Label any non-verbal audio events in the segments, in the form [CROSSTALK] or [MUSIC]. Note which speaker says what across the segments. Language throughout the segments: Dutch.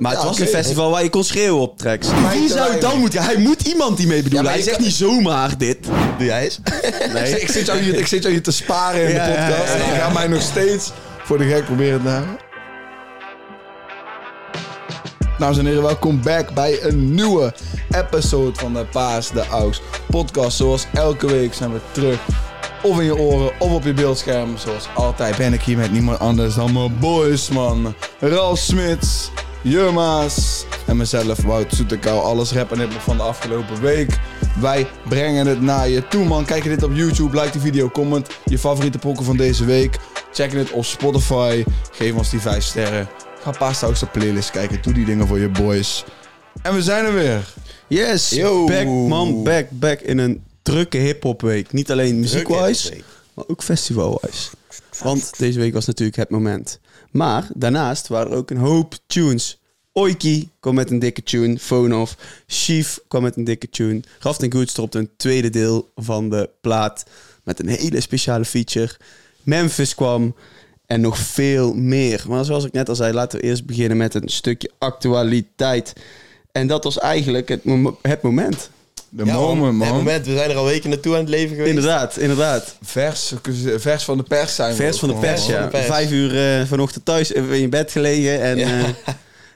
Speaker 1: Maar het
Speaker 2: Ja,
Speaker 1: was
Speaker 2: oké.
Speaker 1: een festival waar je kon schreeuwen op tracks. Wie zou het dan moeten? Hij moet iemand die mee bedoelen.
Speaker 2: maar
Speaker 1: hij
Speaker 2: je
Speaker 1: zegt
Speaker 2: kan-
Speaker 1: niet zomaar dit. Doe jij eens? [LAUGHS] Nee.
Speaker 2: Ik zit, aan je, ik zit aan je te sparen in de
Speaker 1: Ja, ja,
Speaker 2: podcast.
Speaker 1: ja, ja.
Speaker 2: En ik ga mij nog steeds voor de gek proberen te halen. Dames en heren, welkom back bij een nieuwe episode van de Paas de Aux podcast. Zoals elke week zijn we terug. Of in je oren, of op je beeldscherm. Zoals altijd ben ik hier met niemand anders dan mijn boys, man. Ralf Smits, Jurma's en mezelf, Wout Soetekou. Alles rap en hiphop van de afgelopen week. Wij brengen het naar je toe, man. Kijk je dit op YouTube, like de video, comment je favoriete pokken van deze week. Check het op Spotify. Geef ons die 5 sterren. Ga Pasta ook zijn playlist kijken. Doe die dingen voor je boys. En we zijn er weer.
Speaker 1: Yes.
Speaker 2: Yo.
Speaker 1: Back, man. Back, back in een drukke hip-hop week. Niet alleen muziekwise, maar ook festivalwise. Want deze week was natuurlijk het moment. Maar daarnaast waren er ook een hoop tunes. Oiki kwam met een dikke tune. Phone Off. Chief kwam met een dikke tune. Raft Goods dropte een tweede deel van de plaat. Met een hele speciale feature. Memphis kwam. En nog veel meer. Maar zoals ik net al zei, laten we eerst beginnen met een stukje actualiteit. En dat was eigenlijk het, mom- het moment.
Speaker 2: De
Speaker 3: Ja,
Speaker 2: moment, man.
Speaker 3: Het moment, we zijn er al weken naartoe aan het leven geweest.
Speaker 1: Inderdaad, inderdaad.
Speaker 2: Vers, vers van de pers zijn we
Speaker 1: Vers
Speaker 2: ook
Speaker 1: van de
Speaker 2: gewoon,
Speaker 1: pers,
Speaker 2: man.
Speaker 3: van
Speaker 1: ja.
Speaker 3: de pers.
Speaker 1: Vijf uur eh, vanochtend thuis even in je bed gelegen. En, eh,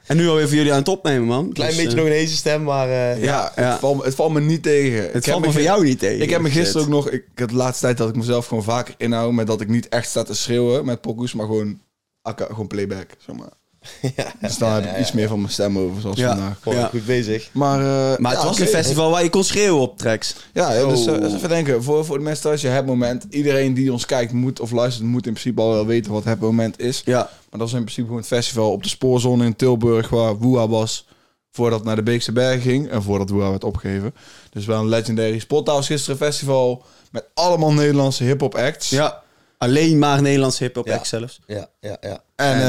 Speaker 1: en nu alweer voor jullie aan het opnemen, man.
Speaker 3: Klein
Speaker 1: Dus,
Speaker 3: beetje
Speaker 1: eh,
Speaker 3: nog een heze stem, maar eh,
Speaker 1: Ja, ja.
Speaker 2: Het, valt, me- het valt me niet tegen.
Speaker 1: Het valt me voor jou niet tegen. dus
Speaker 2: Ik heb me gisteren
Speaker 1: Shit.
Speaker 2: ook nog... Ik, ik had de laatste tijd dat ik mezelf gewoon vaker inhoud... met dat ik niet echt sta te schreeuwen met pokoes... maar gewoon, akka- gewoon playback,
Speaker 1: [LAUGHS]
Speaker 2: zeg maar. Dus dan heb ik iets meer van mijn stem over, zoals
Speaker 1: Ja.
Speaker 2: vandaag.
Speaker 3: gewoon
Speaker 1: Ja.
Speaker 3: goed bezig.
Speaker 2: Maar, eh,
Speaker 1: Maar het
Speaker 2: ja,
Speaker 1: was
Speaker 2: oké.
Speaker 1: een festival waar je kon schreeuwen op tracks.
Speaker 2: Ja, ja, dus
Speaker 1: Zo.
Speaker 2: eh, eens even denken. Voor, voor de mensen thuis, je hebt moment. Iedereen die ons kijkt moet of luistert... moet in principe al wel weten wat het moment is.
Speaker 1: Ja,
Speaker 2: Maar dat is in principe gewoon het festival op de spoorzone in Tilburg, waar Woeha was voordat het naar de Beekse Berg ging en voordat Woeha werd opgegeven. Dus wel een legendary spot. Daar was gisteren een festival met allemaal Nederlandse hip-hop acts.
Speaker 1: ja. Alleen maar Nederlands hip-hop
Speaker 3: Ja.
Speaker 1: act zelfs.
Speaker 3: Ja, ja, ja.
Speaker 2: En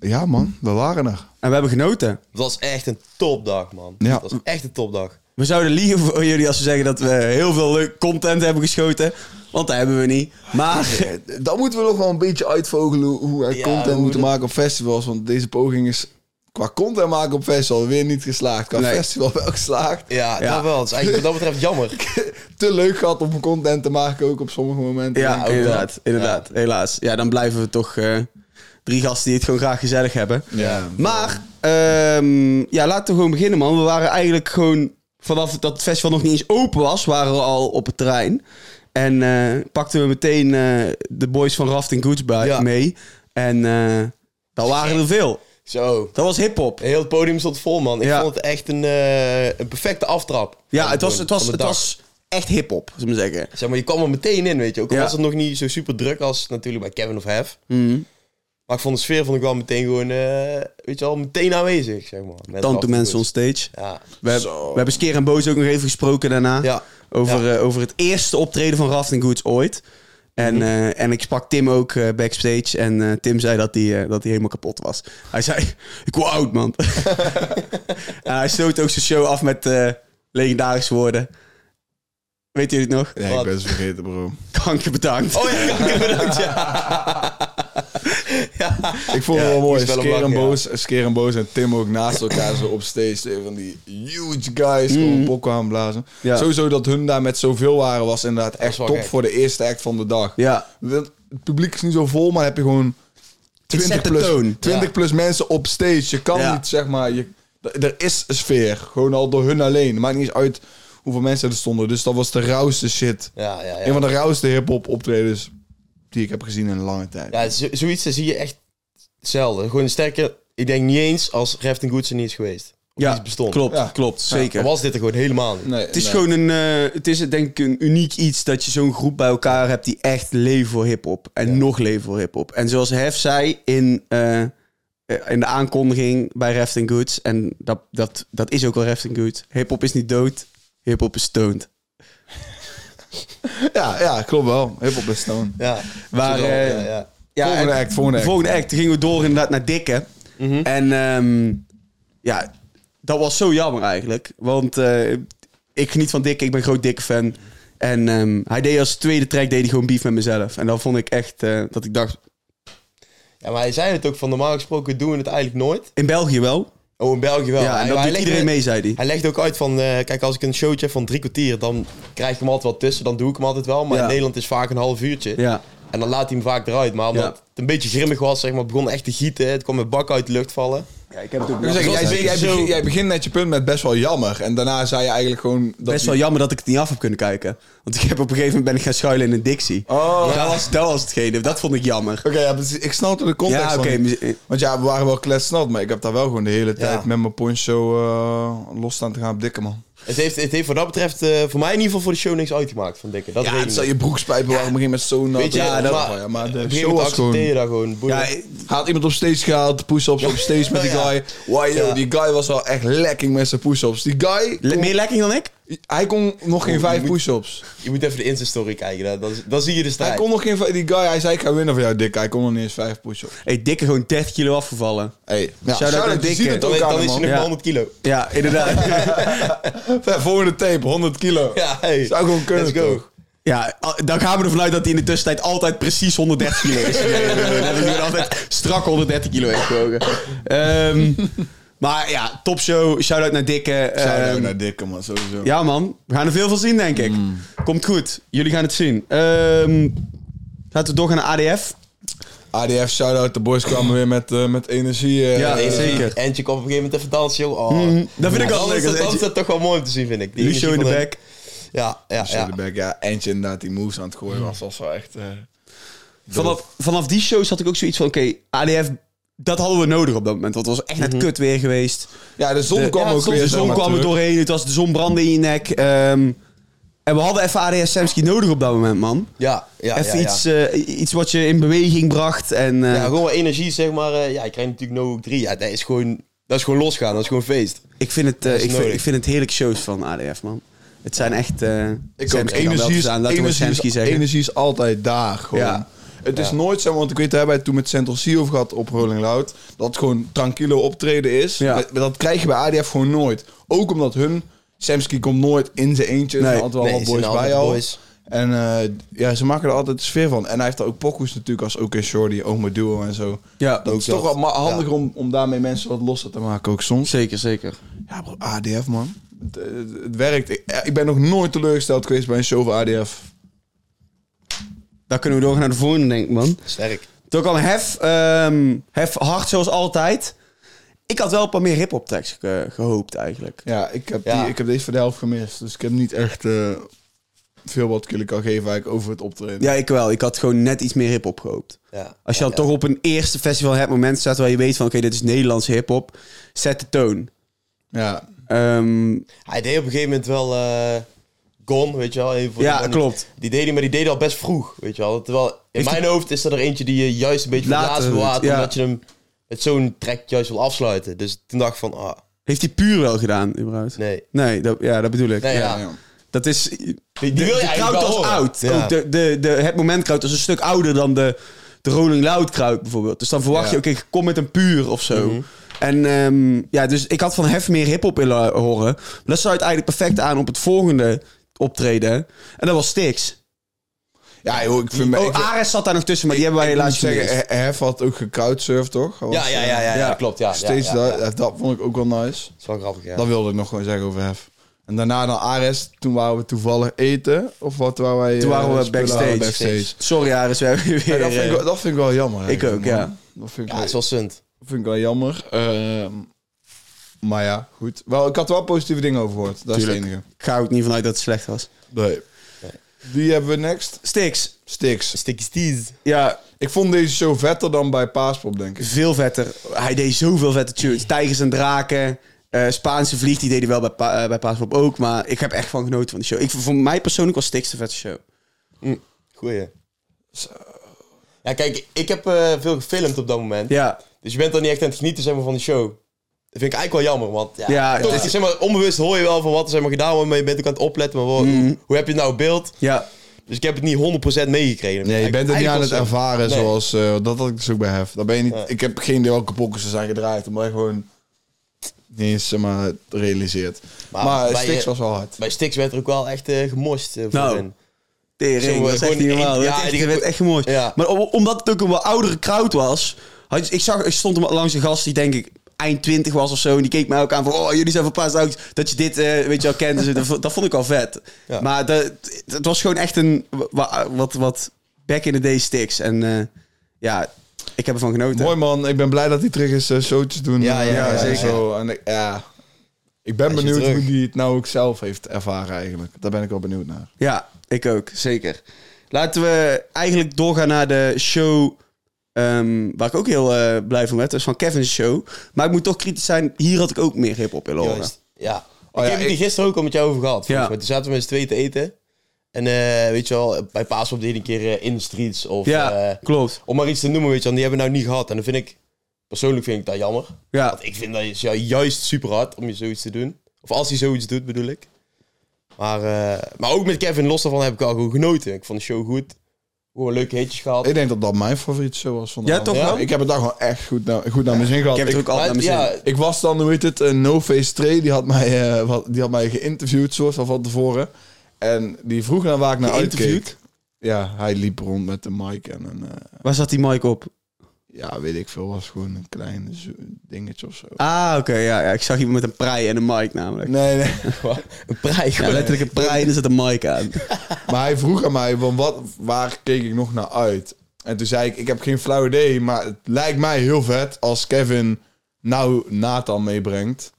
Speaker 2: eh, ja man, we waren er.
Speaker 1: En we hebben genoten.
Speaker 3: Het was echt een topdag, man.
Speaker 2: Ja.
Speaker 3: Het was echt een topdag.
Speaker 1: We zouden liegen voor jullie als we zeggen dat we heel veel leuk content hebben geschoten. Want dat hebben we niet. Maar
Speaker 2: [LAUGHS] Dan moeten we nog wel een beetje uitvogelen hoe wij
Speaker 3: Ja,
Speaker 2: content
Speaker 3: hoe
Speaker 2: moeten
Speaker 3: dat-
Speaker 2: maken op festivals. Want deze poging is qua content maken op festival weer niet geslaagd. Qua
Speaker 1: Nee.
Speaker 2: festival wel geslaagd. [LAUGHS]
Speaker 3: Ja,
Speaker 1: Ja.
Speaker 3: dat wel. Het is eigenlijk wat dat betreft
Speaker 1: [LAUGHS]
Speaker 3: jammer.
Speaker 2: Te leuk gehad om content te maken ook op sommige
Speaker 1: [LAUGHS]
Speaker 2: momenten.
Speaker 1: Ja,
Speaker 2: Denk ik.
Speaker 1: inderdaad. Inderdaad, helaas. Ja, dan blijven we toch eh, drie gasten die het gewoon graag gezellig hebben.
Speaker 2: Ja.
Speaker 1: Maar, ehm, ja, laten we gewoon beginnen, man. We waren eigenlijk gewoon, vanaf dat het festival nog niet eens open was, waren we al op het terrein. En eh, pakten we meteen eh, de boys van Rafting Goods bij,
Speaker 3: Ja.
Speaker 1: mee. En eh dat waren er veel.
Speaker 3: Zo.
Speaker 1: Dat was hip-hop.
Speaker 3: Heel het podium stond vol, man. Ik
Speaker 1: Ja.
Speaker 3: vond het echt een, eh, een perfecte aftrap.
Speaker 1: Ja,
Speaker 3: van-
Speaker 1: het was,
Speaker 3: van
Speaker 1: het
Speaker 3: de
Speaker 1: was, het
Speaker 3: dag.
Speaker 1: was echt hip-hop, zullen we zeggen.
Speaker 3: Zeg maar, je kwam er meteen in, weet je. Ook al
Speaker 1: Ja. Mhm.
Speaker 3: was het nog niet zo super druk als natuurlijk bij Kevin of Hef. Maar ik vond de sfeer vond ik wel meteen gewoon, eh, weet je wel, meteen aanwezig, zeg maar. Met
Speaker 1: Tante
Speaker 3: Rafting
Speaker 1: mensen on
Speaker 3: Woods.
Speaker 1: stage.
Speaker 3: Ja.
Speaker 1: We, hebben- we hebben Skeer en Boos ook nog even gesproken daarna.
Speaker 3: Ja.
Speaker 1: Over, eh, over het eerste optreden van Rafting Goods ooit. En,
Speaker 3: Mhm.
Speaker 1: eh, en ik sprak Tim ook eh, backstage. En eh, Tim zei dat hij eh, dat hij helemaal kapot was. Hij zei, [LAUGHS] ik word oud,
Speaker 3: [LAUGHS]
Speaker 1: man. en hij sloot ook zijn show af met eh, legendarische woorden. Weet jullie het nog?
Speaker 2: Ja, ik
Speaker 3: Wat?
Speaker 2: ben ze
Speaker 1: [LAUGHS]
Speaker 2: vergeten bro.
Speaker 1: Kanker bedankt.
Speaker 3: Oh [LAUGHS] ja, kanker bedankt, ja.
Speaker 2: Ik vond
Speaker 3: Ja,
Speaker 2: het wel
Speaker 3: die
Speaker 2: mooi.
Speaker 3: is wel een
Speaker 2: Skeer en,
Speaker 3: bak, ja.
Speaker 2: Boos, Skeer en Boos en Tim ook naast elkaar zo op stage. Twee Van die huge guys gewoon pokken aan blazen.
Speaker 1: Mm. Ja.
Speaker 2: Sowieso dat hun daar met zoveel waren was inderdaad echt
Speaker 3: wel
Speaker 2: top
Speaker 3: gek.
Speaker 2: voor de eerste act van de dag.
Speaker 1: Ja.
Speaker 2: Want Het publiek is niet zo vol, maar heb je gewoon 20,
Speaker 1: zet de
Speaker 2: plus,
Speaker 1: toon.
Speaker 2: 20
Speaker 3: Ja.
Speaker 2: plus mensen op stage. Je kan
Speaker 1: Ja.
Speaker 2: niet, zeg maar... Je, d- er is een sfeer. Gewoon al door hun alleen. Maakt niet eens uit hoeveel mensen er stonden. Dus dat was de rauwste shit.
Speaker 3: Ja, ja,
Speaker 2: Een
Speaker 3: ja.
Speaker 2: van de rauwste hip-hop optredens die ik heb gezien in een lange tijd.
Speaker 3: ja zo- zoiets dat zie je echt zelden. Gewoon sterker, ik denk niet eens als Refting Goods er niet is geweest. Of
Speaker 1: Ja,
Speaker 3: niet bestond.
Speaker 1: klopt,
Speaker 2: Ja.
Speaker 1: klopt, zeker.
Speaker 3: Dan was dit er gewoon helemaal niet.
Speaker 2: Nee,
Speaker 1: Het is
Speaker 2: nee.
Speaker 1: gewoon een, eh, het is denk ik een uniek iets dat je zo'n groep bij elkaar hebt die echt leven voor hip-hop. En nog leven voor hip-hop. En zoals Hef zei in, eh, eh, in de aankondiging bij Reft Goods, en dat, dat, dat is ook wel Reft Goods: hip-hop is niet dood, hip-hop is stoned.
Speaker 2: Ja, ja, klopt wel. Hip-hop is stone.
Speaker 3: Ja.
Speaker 1: Waar,
Speaker 3: Zo,
Speaker 1: eh,
Speaker 3: ja, ja.
Speaker 1: Ja,
Speaker 2: Volgende
Speaker 1: en-
Speaker 2: act, volgende act.
Speaker 1: Volgende act gingen we door inderdaad naar Dikke. En ehm, ja, dat was zo jammer eigenlijk. Want eh, ik geniet van Dikke, ik ben groot Dikke fan. En ehm, hij deed als tweede track deed hij gewoon beef met mezelf. En dan vond ik echt eh, dat ik dacht,
Speaker 3: Ja, maar hij zei het ook van normaal gesproken doen we het eigenlijk nooit.
Speaker 1: In België wel.
Speaker 3: Oh, in België wel.
Speaker 1: ja, en
Speaker 3: Hij-
Speaker 1: dat
Speaker 3: hij
Speaker 1: doet
Speaker 3: legde-
Speaker 1: iedereen mee, zei hij.
Speaker 3: Hij legt ook uit van, eh, kijk, als ik een showtje heb van drie kwartier, dan krijg ik hem altijd wel tussen, dan doe ik hem altijd wel. Maar
Speaker 1: Ja.
Speaker 3: in Nederland is vaak een half uurtje.
Speaker 1: Ja.
Speaker 3: En dan laat hij hem vaak eruit. Maar omdat
Speaker 1: Ja.
Speaker 3: het een beetje grimmig was, zeg maar, begon echt te gieten. Het kwam met bak uit de lucht vallen.
Speaker 1: ja, ik heb het ook
Speaker 2: Ik wil zeggen,
Speaker 3: dat
Speaker 2: jij,
Speaker 3: is
Speaker 2: jij,
Speaker 3: zo-
Speaker 2: begint, jij begint net je punt met best wel jammer. En daarna zei je eigenlijk gewoon... Dat
Speaker 1: Best wel jammer dat ik het niet af heb kunnen kijken. Want ik heb op een gegeven moment ben ik gaan schuilen in een Dixie.
Speaker 2: Oh.
Speaker 1: Dat, was, dat was hetgene. Dat vond ik jammer.
Speaker 2: Oké, ja, precies. ik snapte de context
Speaker 1: Ja,
Speaker 2: van
Speaker 1: oké,
Speaker 2: niet.
Speaker 1: muzie-
Speaker 2: Want ja, we waren wel kletsnat, maar ik heb daar wel gewoon de hele tijd met mijn poncho eh, los staan te gaan op dikke man.
Speaker 3: Het heeft, het heeft wat dat betreft eh, voor mij in ieder geval voor de show niks uitgemaakt van Dikke. Dat
Speaker 2: Ja,
Speaker 3: weet ik
Speaker 2: het zou
Speaker 3: niet.
Speaker 2: je broekspijpen waren, begin met zo'n...
Speaker 3: Weet je,
Speaker 2: ja,
Speaker 3: ja,
Speaker 2: dat
Speaker 3: maar,
Speaker 2: wel, ja, maar
Speaker 3: op
Speaker 2: de
Speaker 3: een gegeven
Speaker 2: show
Speaker 3: moment
Speaker 2: was
Speaker 3: accepteer je
Speaker 2: gewoon...
Speaker 3: dat gewoon. boeien.
Speaker 1: Ja,
Speaker 2: Had iemand op stage gehaald, push-ups op stage met die
Speaker 3: Ja.
Speaker 2: guy. Wow, yo,
Speaker 3: Ja.
Speaker 2: die guy was wel echt lekking met zijn push-ups. Die guy,
Speaker 1: Le-
Speaker 2: kon-
Speaker 1: meer lekking dan ik?
Speaker 2: hij kon nog geen
Speaker 3: Oh, je
Speaker 2: vijf
Speaker 3: moet-
Speaker 2: push-ups.
Speaker 3: Je moet even de Insta-story kijken, dan, dan, dan zie je de
Speaker 2: Hij
Speaker 3: strijd.
Speaker 2: kon nog geen vijf... Die guy, hij zei, ik ga winnen van jou, dik. Hij kon nog niet eens vijf push-ups.
Speaker 1: Hey, dikke gewoon 30 kilo afgevallen.
Speaker 2: Hey, ja,
Speaker 1: shout-out
Speaker 2: shout-out,
Speaker 1: aan
Speaker 2: je
Speaker 1: Dikke.
Speaker 2: ziet het
Speaker 3: dan,
Speaker 2: ook aan
Speaker 3: dan
Speaker 2: hem,
Speaker 3: is
Speaker 2: man.
Speaker 3: hij nog
Speaker 1: Ja.
Speaker 3: maar 100 kilo.
Speaker 1: Ja, inderdaad.
Speaker 2: [LAUGHS] Ja, [LAUGHS] Volgende tape, 100 kilo.
Speaker 3: Ja, hey.
Speaker 2: Zou gewoon kunnen,
Speaker 3: Let's go.
Speaker 2: toch?
Speaker 1: ja, al- dan gaan we ervan uit dat hij in de tussentijd altijd precies 130 kilo is. geweest. dat hij gewoon altijd strak 130 kilo heeft gewogen. Ehm, maar ja, topshow. Shout-out naar Dikke.
Speaker 2: Shout-out
Speaker 1: Ehm,
Speaker 2: naar Mm. Dikke, man, sowieso.
Speaker 1: Ja, man. We gaan er veel van zien, denk ik. Komt goed. Jullie gaan het zien. Ehm, laten we doorgaan naar ADF.
Speaker 2: ADF, shout-out. De boys kwamen weer met, eh, met energie. eh,
Speaker 1: Ja,
Speaker 2: eh,
Speaker 1: zeker.
Speaker 3: En je komt op een gegeven moment even dansen, joh. Oh.
Speaker 2: Mm,
Speaker 1: dat vind ik wel
Speaker 3: dan
Speaker 1: leuk,
Speaker 3: is dat-
Speaker 1: als
Speaker 3: Dan
Speaker 1: Antje-
Speaker 3: is dat toch wel mooi om te zien, vind ik. Die
Speaker 1: Lucio in
Speaker 3: energie
Speaker 1: de
Speaker 3: van hen.
Speaker 1: back.
Speaker 3: Ja, ja,
Speaker 2: Zo
Speaker 3: ja.
Speaker 2: de back, ja. Eentje inderdaad die moves aan het gooien was. was wel echt... eh,
Speaker 1: Vanaf, vanaf die shows had ik ook zoiets van... Oké, ADF, dat hadden we nodig op dat moment. Want het was echt
Speaker 2: Mhm.
Speaker 1: net kut weer geweest.
Speaker 2: Ja, de zon
Speaker 1: De-
Speaker 2: kwam
Speaker 1: ja,
Speaker 2: ook
Speaker 1: het stond-
Speaker 2: weer.
Speaker 1: De
Speaker 2: zeg
Speaker 1: zon
Speaker 2: maar,
Speaker 1: kwam er
Speaker 2: terug.
Speaker 1: doorheen. Het was de zon brandde in je nek. Ehm, en we hadden even ADF Samsky nodig op dat moment, man.
Speaker 3: Ja, ja,
Speaker 1: even
Speaker 3: ja, ja.
Speaker 1: Iets, eh, iets wat je in beweging bracht. En, eh,
Speaker 3: Ja, gewoon wat energie, zeg maar. eh, ja, ik krijg natuurlijk No Hook 3. Ja, dat is gewoon, dat is gewoon losgaan. Dat is gewoon feest.
Speaker 1: ik, vind het, eh,
Speaker 3: dat is
Speaker 1: ik, vind,
Speaker 3: nodig.
Speaker 1: ik vind het heerlijk shows van ADF, man. Het zijn echt... eh
Speaker 2: Ik ook.
Speaker 1: Samsky dan wel
Speaker 2: Energie
Speaker 1: te
Speaker 2: is,
Speaker 1: staan. Laten we
Speaker 2: energie,
Speaker 1: Samsky
Speaker 2: is,
Speaker 1: zeggen.
Speaker 2: energie is altijd daar, gewoon.
Speaker 1: Ja.
Speaker 2: Het is nooit zo, want ik weet, daar hebben we het toen met Central Sea over gehad op Rolling Loud. Dat het gewoon tranquilo optreden is.
Speaker 1: Ja.
Speaker 2: Dat- Dat krijg je bij ADF gewoon nooit. Ook omdat hun... Samsky komt nooit in zijn eentje.
Speaker 1: Nee.
Speaker 2: er zijn altijd wel
Speaker 3: Nee,
Speaker 2: wat
Speaker 3: er zijn
Speaker 2: boys bij
Speaker 3: altijd
Speaker 2: al.
Speaker 3: boys.
Speaker 2: En eh, ja, ze maken er altijd de sfeer van. En hij heeft daar ook pokoes natuurlijk als OK Shorty, Oma Duo en zo.
Speaker 1: Ja,
Speaker 2: dat
Speaker 1: ook
Speaker 2: is toch wel ma- handiger om, om daarmee mensen wat losser te maken ook soms.
Speaker 1: Zeker, zeker.
Speaker 2: Ja bro, ADF man. Het, het- het werkt. Ik, eh, ik ben nog nooit teleurgesteld geweest bij een show van ADF.
Speaker 1: Dan kunnen we doorgaan naar de volgende, denk ik, man.
Speaker 3: Sterk.
Speaker 1: Toch al hef, ehm, hef hard zoals altijd. Ik had wel een paar meer hip-hop tekst gehoopt, eigenlijk.
Speaker 2: Ja, ik heb,
Speaker 3: Ja.
Speaker 2: Die, ik heb deze voor de helft gemist. Dus ik heb niet echt eh, veel wat ik jullie kan geven eigenlijk over het optreden.
Speaker 1: Ja, ik wel. Ik had gewoon net iets meer hip-hop gehoopt.
Speaker 3: Ja.
Speaker 1: Als je dan toch op een eerste festival het moment staat waar je weet van... oké, dit is Nederlandse hip-hop, zet de toon.
Speaker 2: Ja.
Speaker 1: Ehm,
Speaker 3: Hij deed op een gegeven moment wel eh Gone, weet je wel. Even voor
Speaker 1: Ja,
Speaker 3: die-
Speaker 1: klopt.
Speaker 3: Die deed hij, maar die deed hij al best vroeg, weet je wel. Terwijl in
Speaker 1: Heeft
Speaker 3: mijn hoofd is er er eentje die je juist een beetje
Speaker 1: Later
Speaker 3: verplaatst
Speaker 1: doet,
Speaker 3: wil laten.
Speaker 1: ja.
Speaker 3: Omdat je hem met zo'n track juist wil afsluiten. Dus toen dacht ik van, ah,
Speaker 1: heeft hij puur wel gedaan, überhaupt?
Speaker 3: nee.
Speaker 1: Nee, dat, ja, dat bedoel ik.
Speaker 3: Nee, ja.
Speaker 2: Ja, ja.
Speaker 1: Dat is...
Speaker 3: Die,
Speaker 1: De,
Speaker 3: die wil je
Speaker 1: de crowd
Speaker 3: eigenlijk wel
Speaker 1: was
Speaker 3: horen.
Speaker 1: oud.
Speaker 3: Ja.
Speaker 1: Ook de, de, de, het moment crowd was een stuk ouder dan de, de Rolling Loud crowd bijvoorbeeld. Dus dan verwacht
Speaker 2: Ja.
Speaker 1: je, oké, kom met een puur of zo.
Speaker 3: Mhm.
Speaker 1: En ehm, ja, dus ik had van Hef meer hip-hop willen horen. Maar dat sluit eigenlijk perfect aan op het volgende optreden. En dat was Stix.
Speaker 2: Ja, joh, ik vind... me- ik
Speaker 1: Oh, ah,
Speaker 2: vind-
Speaker 1: Ares zat daar nog tussen, maar die hebben wij
Speaker 2: ik moet
Speaker 1: helaas
Speaker 2: zeggen,
Speaker 1: gemist.
Speaker 2: He- Hef had ook gecouchsurfd, toch? Hij
Speaker 3: Ja,
Speaker 2: was,
Speaker 3: ja,
Speaker 2: eh,
Speaker 3: ja, ja, ja,
Speaker 1: Ja.
Speaker 3: klopt. Ja, ja,
Speaker 2: Steeds
Speaker 3: ja,
Speaker 2: dat,
Speaker 3: ja.
Speaker 2: dat vond ik ook wel nice.
Speaker 3: Dat is wel grappig, ja.
Speaker 2: Dat wilde ik nog gewoon zeggen over Hef. En daarna dan Ares, toen waren we toevallig eten. Of wat waren wij?
Speaker 1: Toen waren
Speaker 2: eh,
Speaker 1: we
Speaker 2: spullen
Speaker 1: backstage.
Speaker 2: halen
Speaker 1: Sorry Ares, we hebben je
Speaker 2: Ja,
Speaker 1: weer...
Speaker 2: dat, vind ik,
Speaker 1: eh,
Speaker 2: wel- dat vind ik wel jammer. eigenlijk,
Speaker 1: ook,
Speaker 2: man.
Speaker 1: ja.
Speaker 2: Dat vind ik,
Speaker 3: Ja,
Speaker 2: wel,
Speaker 3: het is wel sunt.
Speaker 2: vind ik wel jammer. Ehm, maar ja, goed. Wel, ik had wel positieve dingen over gehoord. Dat
Speaker 1: Tuurlijk.
Speaker 2: is het enige.
Speaker 1: Ik ga ook niet vanuit dat het slecht was.
Speaker 2: Nee. Die hebben we next.
Speaker 1: Stix.
Speaker 2: Stix.
Speaker 3: Sticky steez.
Speaker 1: Ja,
Speaker 2: Ik vond deze show vetter dan bij Paaspop, denk ik.
Speaker 1: Veel vetter. Hij deed zoveel vette tunes. Tijgers en draken. eh, Spaanse vlieg, die deed hij wel bij, pa eh, bij Paaspop ook. Maar ik heb echt van genoten van de show. Ik, voor mij persoonlijk was Stix de vette show.
Speaker 3: Goeie. Ja, kijk, ik heb eh, veel gefilmd op dat moment.
Speaker 1: Ja,
Speaker 3: Dus je bent dan niet echt aan het genieten zeg maar, van de show. Dat vind ik eigenlijk wel jammer, want ja,
Speaker 1: Ja,
Speaker 3: toch,
Speaker 1: het is-
Speaker 3: zeg maar, onbewust hoor je wel van wat er zeg maar, gedaan wordt, maar je bent ook aan het opletten. Maar wel, hoe heb je nou beeld?
Speaker 1: ja.
Speaker 3: Dus ik heb het niet 100% meegekregen.
Speaker 2: Nee, je bent het niet aan het
Speaker 3: Eigenlijk was-
Speaker 2: ervaren
Speaker 3: Nee.
Speaker 2: zoals... eh, dat had ik dus ook bij Hef. Daar ben je niet,
Speaker 3: Ja.
Speaker 2: Ik heb geen idee welke pokkers ze zijn gedraaid. Omdat je gewoon niet eens zeg maar, realiseert. Maar,
Speaker 3: Maar
Speaker 2: maar
Speaker 3: bij
Speaker 2: Stix
Speaker 3: je-
Speaker 2: was wel hard.
Speaker 3: Bij Stix werd er ook wel echt eh, gemorst. eh, voor
Speaker 1: Nou,
Speaker 3: hen.
Speaker 1: Tering,
Speaker 3: Zo, eh,
Speaker 1: dat is echt
Speaker 3: gewoon
Speaker 1: niet normaal.
Speaker 3: één-
Speaker 1: Dat
Speaker 3: ja,
Speaker 1: werd echt,
Speaker 3: die-
Speaker 1: dat werd echt mooi.
Speaker 3: Ja.
Speaker 1: Maar om- omdat het ook een wat oudere crowd was, Had je- ik, zag, ik stond hem langs een gast die denk ik eind 20 was of zo. En die keek mij ook aan van, oh, jullie zijn verpaasd. ook Dat je dit, eh, weet je wel, kent. Dus dat, vo- dat vond ik al vet.
Speaker 3: Ja.
Speaker 1: Maar dat, het was gewoon echt een, wa- wat, wat back in the day sticks. En eh, ja, ik heb ervan genoten.
Speaker 2: Mooi man, ik ben blij dat hij terug is eh, showtjes doen.
Speaker 3: Ja,
Speaker 2: eh,
Speaker 3: ja, ja,
Speaker 2: en
Speaker 3: zeker.
Speaker 2: Zo. En ik, ja. ik ben
Speaker 3: Hij is
Speaker 2: benieuwd
Speaker 3: terug.
Speaker 2: hoe hij het nou ook zelf heeft ervaren eigenlijk. Daar ben ik wel benieuwd naar.
Speaker 1: Ja, ik ook, zeker. Laten we eigenlijk doorgaan naar de show. ehm, waar ik ook heel eh, blij van werd. Dat is van Kevin's show. Maar ik moet toch kritisch zijn. Hier had ik ook meer hip-hop willen horen.
Speaker 3: Juist. Ja.
Speaker 2: Oh
Speaker 3: ik
Speaker 2: ja,
Speaker 3: heb het hier gisteren ook al met jou over gehad.
Speaker 1: Ja.
Speaker 3: Ja. Toen zaten we met z'n tweeën te eten. En eh, weet je wel, bij Paasop deed ik een keer eh, in de streets. Of,
Speaker 1: Ja,
Speaker 3: eh,
Speaker 1: klopt.
Speaker 3: om maar iets te noemen, weet je wel. En Die hebben we nou niet gehad. En dan vind ik, persoonlijk vind ik dat jammer.
Speaker 1: Ja,
Speaker 3: Want ik vind dat is ju- juist super hard om je zoiets te doen. Of als hij zoiets doet, bedoel ik. Maar, eh, maar ook met Kevin, los daarvan heb ik al gewoon genoten. Ik vond de show goed. Gewoon leuke hitjes gehad.
Speaker 2: Ik denk dat dat mijn favoriet show was van de
Speaker 1: Ja,
Speaker 2: avond.
Speaker 1: toch
Speaker 3: Ja.
Speaker 1: wel?
Speaker 3: toch?
Speaker 2: Ik heb het daar gewoon echt goed naar, goed naar mijn zin gehad.
Speaker 1: Ik heb het
Speaker 2: Ik-
Speaker 1: er ook altijd
Speaker 3: Maar
Speaker 1: naar mijn
Speaker 3: ja,
Speaker 1: zin.
Speaker 2: Ik was dan, hoe heet het, een No Face 2, die had mij, eh, wat, die had mij geïnterviewd, soort van van tevoren. En die vroeg naar waar ik naar uitkeek.
Speaker 1: Geïnterviewd?
Speaker 2: Ja, hij liep rond met de mic en een, eh,
Speaker 1: Waar zat die mic op?
Speaker 2: ja, weet ik veel, was gewoon een klein zo- dingetje of zo.
Speaker 1: Ah, oké. ja, ja, ik zag iemand met een prei en een mic namelijk.
Speaker 2: Nee, nee.
Speaker 3: een prijs.
Speaker 1: Ja, letterlijk een prei en er zit een mic
Speaker 3: [LAUGHS]
Speaker 1: aan.
Speaker 2: Maar hij vroeg aan mij, van wat, waar keek ik nog naar uit? En toen zei ik, ik heb geen flauw idee, maar het lijkt mij heel vet als Kevin nou Nathan meebrengt.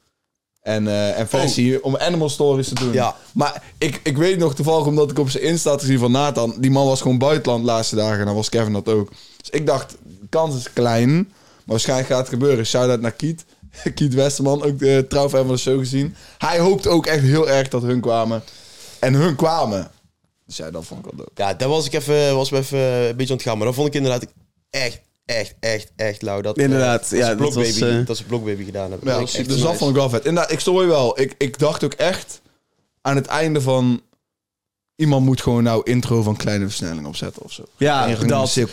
Speaker 2: En, eh, en Fessie om Animal Stories te doen.
Speaker 3: Ja.
Speaker 2: Maar ik, ik weet nog toevallig, omdat ik op zijn Insta had gezien van Nathan, die man was gewoon buitenland de laatste dagen en dan was Kevin dat ook. Dus ik dacht, de kans is klein, maar waarschijnlijk gaat het gebeuren. Shout-out naar Kiet. [LAUGHS] Kiet Westerman, ook de trouwfan van de show gezien. Hij hoopte ook echt heel erg dat hun kwamen. En hun kwamen. Dus ja, dat vond ik wel dope.
Speaker 3: Ja, daar was ik even, was me even een beetje aan het gaan. Maar dat vond ik inderdaad echt, echt, echt, echt lauw. Dat, eh,
Speaker 1: Inderdaad, ja,
Speaker 3: dat ze
Speaker 1: dat
Speaker 3: Blockbaby,
Speaker 1: was, eh,
Speaker 3: dat ze Blockbaby gedaan hebben.
Speaker 2: Ja,
Speaker 3: Dat
Speaker 2: dus
Speaker 3: ik echt
Speaker 2: dus dat
Speaker 3: nice.
Speaker 2: vond ik wel vet. Inderdaad, ik stoor je wel. Ik, ik dacht ook echt aan het einde van... Iemand moet gewoon nou intro van kleine versnelling opzetten of zo.
Speaker 1: Ja,
Speaker 2: Ergens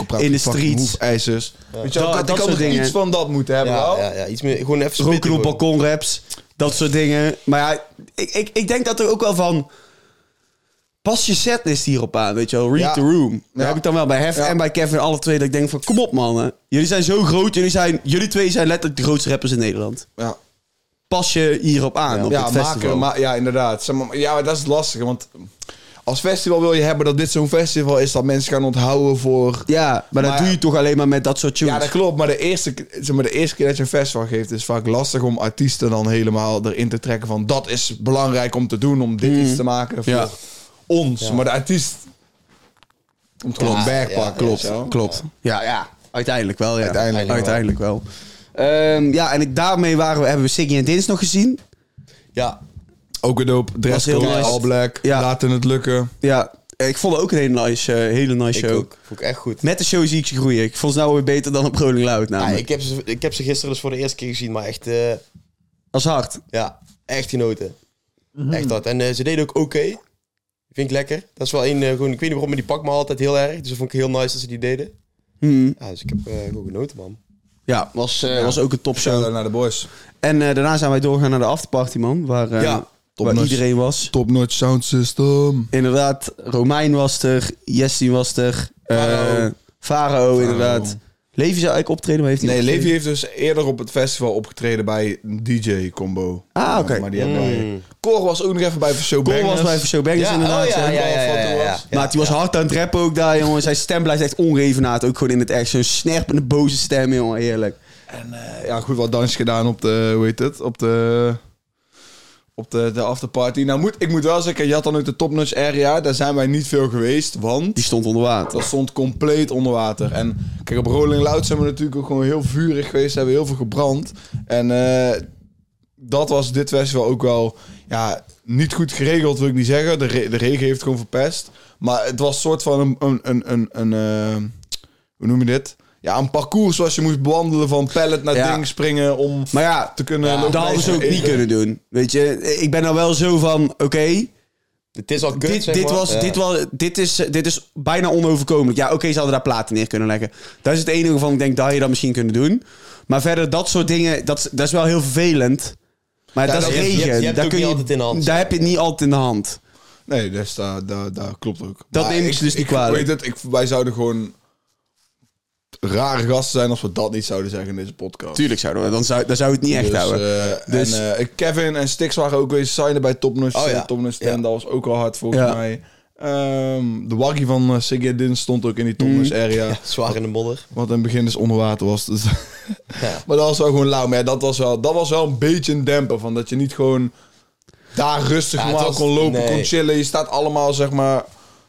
Speaker 1: dat, in de streets.
Speaker 2: Hoefijzers. Weet je,
Speaker 1: Dat-
Speaker 2: dat,
Speaker 1: dat
Speaker 2: kan kan
Speaker 1: soort
Speaker 2: toch
Speaker 1: dingen.
Speaker 2: iets van dat moeten hebben.
Speaker 3: ja,
Speaker 2: wel?
Speaker 3: ja, ja, iets meer, gewoon even spitten
Speaker 1: Roken op
Speaker 3: gewoon.
Speaker 1: balkonraps, dat soort dingen. Maar ja, ik, ik, ik denk dat er ook wel van... Pas je setlist hierop aan, weet je wel. Read
Speaker 2: Ja.
Speaker 1: the room. Daar
Speaker 2: Ja.
Speaker 1: heb ik dan wel bij Hef
Speaker 2: Ja.
Speaker 1: en bij Kevin alle twee dat ik denk van... Kom op, mannen. Jullie zijn zo groot. Jullie, zijn, jullie twee zijn letterlijk de grootste rappers in Nederland.
Speaker 2: Ja.
Speaker 1: Pas je hierop aan op
Speaker 2: ja,
Speaker 1: dit festival.
Speaker 2: maken, maar, ja, inderdaad. Zeg maar, ja, maar dat is het lastige, want als festival wil je hebben dat dit zo'n festival is dat mensen gaan onthouden voor...
Speaker 1: ja, maar, dat
Speaker 2: Maar-
Speaker 1: doe je toch alleen maar met dat soort tunes.
Speaker 2: Ja, dat klopt, maar de eerste, ke- zeg maar, de eerste keer dat je een festival geeft is vaak lastig om artiesten dan helemaal erin te trekken van dat is belangrijk om te doen, om dit iets te maken voor
Speaker 1: Mhm. Ja.
Speaker 2: ons.
Speaker 3: Ja.
Speaker 2: Maar de artiest komt gewoon
Speaker 3: Ja,
Speaker 2: backpack,
Speaker 3: ja,
Speaker 2: klopt.
Speaker 3: ja, zo.
Speaker 1: Klopt. Ja, ja. Uiteindelijk wel, ja.
Speaker 2: Uiteindelijk wel.
Speaker 1: Uiteindelijk wel. Ehm, ja, en ik, daarmee waren we, hebben we Siggy en Dins nog gezien.
Speaker 3: Ja,
Speaker 2: Ook een dope dresscode,
Speaker 1: heel nice.
Speaker 2: all black,
Speaker 1: Ja.
Speaker 2: laten het lukken.
Speaker 1: Ja, ik vond het ook een hele nice, eh, hele nice
Speaker 3: ik
Speaker 1: show.
Speaker 3: ook. Vond ik echt goed.
Speaker 1: Met de show zie ik ze groeien. Ik vond ze nou weer beter dan op Rolling Loud
Speaker 3: Ja,
Speaker 1: namelijk.
Speaker 3: ik, heb ze, ik heb ze gisteren dus voor de eerste keer gezien, maar echt, eh,
Speaker 1: Als hard.
Speaker 3: ja, echt genoten. Echt dat. En eh, ze deden ook oké. Vind ik lekker. Dat is wel één, eh, gewoon, ik weet niet waarom, maar die pak me altijd heel erg. Dus dat vond ik heel nice dat ze die deden.
Speaker 1: Hmm.
Speaker 3: Ja, dus ik heb eh, gewoon genoten, man.
Speaker 1: Ja, was, eh,
Speaker 2: Ja.
Speaker 1: was ook een
Speaker 2: Shout
Speaker 1: topshow.
Speaker 2: out naar de boys.
Speaker 1: En eh, daarna zijn wij doorgaan naar de afterparty, man. Waar, eh,
Speaker 3: Ja,
Speaker 1: waar
Speaker 2: topnotch.
Speaker 1: iedereen was.
Speaker 2: Top notch sound system.
Speaker 1: Inderdaad, Romein was er. Jessie was er. eh,
Speaker 3: Farao.
Speaker 1: Farao, inderdaad. Levi zou eigenlijk optreden, maar heeft hij
Speaker 2: Nee,
Speaker 1: niet
Speaker 2: Levi
Speaker 1: opgetreden?
Speaker 2: heeft dus eerder op het festival opgetreden bij een DJ-combo.
Speaker 1: Ah, oké.
Speaker 2: Maar die hebben wij...
Speaker 3: Mm.
Speaker 2: Cor was ook nog even bij Show
Speaker 1: Cor was bij Show Bangers, inderdaad.
Speaker 3: oh, ja,
Speaker 1: hè?
Speaker 3: ja, ja, ja, ja, ja.
Speaker 2: was.
Speaker 1: maar die was hard aan het rappen ook daar, jongen. Zijn stem blijft echt onrevenaard. Ook gewoon in het echt. Zo'n snerpende, boze stem, jongen. Heerlijk.
Speaker 2: Eh, ja, goed wat dansje gedaan op de, hoe heet het, op de, op de, de afterparty. Nou moet, ik moet wel zeggen, je had dan ook de topnotch area, daar zijn wij niet veel geweest, want
Speaker 1: Die stond onder water.
Speaker 2: dat stond compleet onder water. En kijk, op Rolling Loud zijn we natuurlijk ook gewoon heel vurig geweest, hebben we heel veel gebrand. En eh, dat was dit festival ook wel, ja, niet goed geregeld wil ik niet zeggen, de, re- de regen heeft het gewoon verpest. Maar het was soort van een, een, een, een, een eh, hoe noem je dit? Ja, een parcours zoals je moest bewandelen van pallet naar
Speaker 1: Ja.
Speaker 2: ding springen om
Speaker 1: Maar ja,
Speaker 2: te kunnen
Speaker 1: dat hadden ze ook niet kunnen doen. Weet je, ik ben nou wel zo van, oké,
Speaker 3: Het is al kut,
Speaker 1: dit,
Speaker 3: zeg
Speaker 1: dit,
Speaker 3: maar.
Speaker 1: was,
Speaker 3: Ja.
Speaker 1: dit, was, dit, is, dit is bijna onoverkomelijk. Ja, oké, ze hadden daar platen neer kunnen leggen. Dat is het enige van, ik denk, dat had je dat misschien kunnen doen. Maar verder, dat soort dingen, dat, is- dat is wel heel vervelend. Maar
Speaker 2: Ja,
Speaker 1: dat,
Speaker 2: dat-
Speaker 1: is
Speaker 2: je hebt-
Speaker 1: regen.
Speaker 3: je hebt het
Speaker 1: daar
Speaker 3: ook
Speaker 1: kun
Speaker 3: niet
Speaker 1: je,
Speaker 3: altijd in de hand.
Speaker 1: Daar heb je het niet altijd in de hand.
Speaker 2: Nee, dat is- daar daar- daar klopt ook.
Speaker 1: Dat neem ik
Speaker 2: ik
Speaker 1: ze dus niet
Speaker 2: ik,
Speaker 1: kwalijk.
Speaker 2: Weet het, ik, wij zouden gewoon rare gasten zijn als we dat niet zouden zeggen in deze podcast.
Speaker 1: Tuurlijk zouden we, dan zou, dan zou het niet echt
Speaker 2: Dus,
Speaker 1: houden.
Speaker 2: eh,
Speaker 1: Dus-
Speaker 2: En, eh, Kevin en Stix waren ook weer signen bij Topnus.
Speaker 3: Oh
Speaker 2: Oh,
Speaker 3: ja.
Speaker 2: Topnus
Speaker 3: Ja.
Speaker 2: dat was ook al hard volgens
Speaker 1: Ja.
Speaker 2: mij. Ehm, de waggie van eh, Siggy Din stond ook in
Speaker 1: Mhm.
Speaker 2: die Topnus area.
Speaker 3: Zwaar in de modder.
Speaker 2: Wat in het begin dus onder water was. Dus
Speaker 3: Ja.
Speaker 2: maar dat was wel gewoon lauw. Maar ja, dat, was wel, dat was wel een beetje een demper. Van dat je niet gewoon daar rustig
Speaker 3: Ja, het
Speaker 2: maar
Speaker 3: was-
Speaker 2: kon lopen,
Speaker 3: nee.
Speaker 2: kon chillen. Je staat allemaal zeg maar...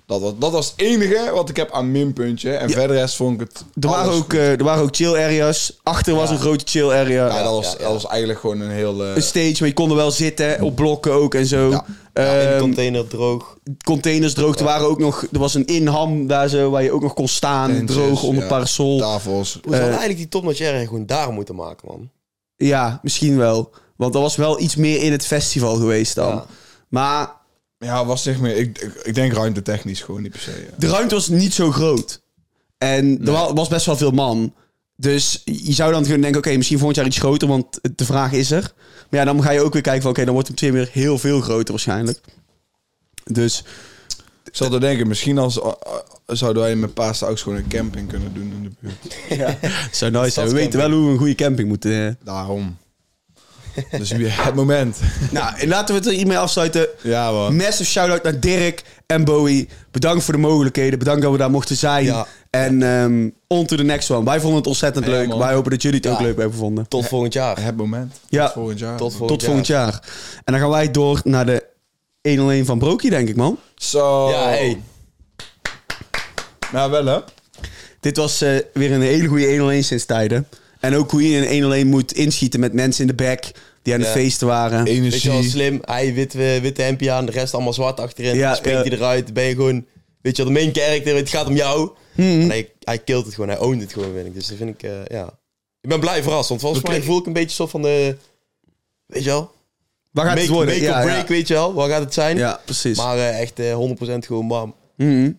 Speaker 2: Dat was, dat was het enige wat ik heb aan minpuntje. En verder rest vond ik het...
Speaker 1: Er waren,
Speaker 2: alles
Speaker 1: ook, eh, er waren ook chill areas. Achter was een grote chill area.
Speaker 2: Ja, dat, was,
Speaker 3: ja, ja.
Speaker 2: dat was eigenlijk gewoon een heel... eh,
Speaker 1: Een stage, maar je kon er wel zitten. Op blokken ook en zo.
Speaker 2: Ja.
Speaker 3: in de
Speaker 1: Ehm,
Speaker 3: container droog.
Speaker 1: containers droog. Er, waren ook nog, er was een inham daar zo, waar je ook nog kon staan.
Speaker 2: Tentjes,
Speaker 1: droog onder
Speaker 2: ja.
Speaker 1: parasol.
Speaker 2: tafels.
Speaker 3: We zouden eigenlijk die topnotch area gewoon daar moeten maken, man.
Speaker 1: Ja, misschien wel. Want er was wel iets meer in het festival geweest dan.
Speaker 3: Ja.
Speaker 1: Maar
Speaker 2: Ja, was zeg meer... Ik, ik, ik denk ruimtetechnisch gewoon niet per se. ja.
Speaker 1: de ruimte was niet zo groot. En er wa- was best wel veel man. Dus je zou dan kunnen denken, oké, misschien volgend jaar iets groter, want de vraag is er. Maar ja, dan ga je ook weer kijken van, oké, dan wordt het meteen weer heel veel groter waarschijnlijk. Dus
Speaker 2: Ik zat te denken, misschien als, a- a- zouden wij met Paas ook gewoon een camping kunnen doen in de buurt.
Speaker 1: het zou nice zijn. We
Speaker 3: Stadscamping.
Speaker 1: weten wel hoe we een goede camping moeten... eh.
Speaker 2: Daarom.
Speaker 3: [LAUGHS]
Speaker 2: Dus weer het moment.
Speaker 1: Nou, en laten we het er hiermee afsluiten.
Speaker 2: Ja, man.
Speaker 1: Massive shout-out naar Dirk en Bowie. Bedankt voor de mogelijkheden. Bedankt dat we daar mochten zijn.
Speaker 3: Ja.
Speaker 1: En ehm, on to the next one. Wij vonden het ontzettend
Speaker 2: Ja,
Speaker 1: leuk.
Speaker 2: man.
Speaker 1: Wij hopen dat jullie het ook
Speaker 3: Ja.
Speaker 1: leuk hebben gevonden.
Speaker 3: Tot volgend jaar.
Speaker 2: Het moment.
Speaker 1: Ja.
Speaker 2: Tot volgend jaar.
Speaker 3: Tot volgend
Speaker 1: Tot volgend jaar. En dan gaan wij door naar de 101 van Brokje, denk ik, man.
Speaker 2: Zo.
Speaker 3: Ja, hey.
Speaker 2: Nou, wel hè?
Speaker 1: Dit was eh, weer een hele goede 101 sinds tijden. En ook hoe je een 101 moet inschieten met mensen in de back die aan het
Speaker 3: Ja.
Speaker 1: feesten waren.
Speaker 3: Weet je wel,
Speaker 2: Energie.
Speaker 3: slim. Hij witte, witte hemdje aan, de rest allemaal zwart achterin.
Speaker 1: Ja,
Speaker 3: Ja, springt
Speaker 1: ja.
Speaker 3: hij eruit. Ben je gewoon, weet je wel, de main character. Het gaat om jou.
Speaker 1: Mhm.
Speaker 3: En hij, hij killt het gewoon. Hij owned het gewoon, vind ik. Dus dat vind ik, eh, ja. Ik ben blij verrast. Want volgens
Speaker 1: We
Speaker 3: mij
Speaker 1: kregen-
Speaker 3: voel ik een beetje zo van de, weet je wel,
Speaker 1: Waar gaat
Speaker 3: make,
Speaker 1: het worden?
Speaker 3: make
Speaker 1: ja,
Speaker 3: or
Speaker 1: ja.
Speaker 3: break, weet je wel. Waar gaat het zijn?
Speaker 1: Ja, precies.
Speaker 3: Maar eh, echt eh, 100% gewoon bam.
Speaker 1: Mhm.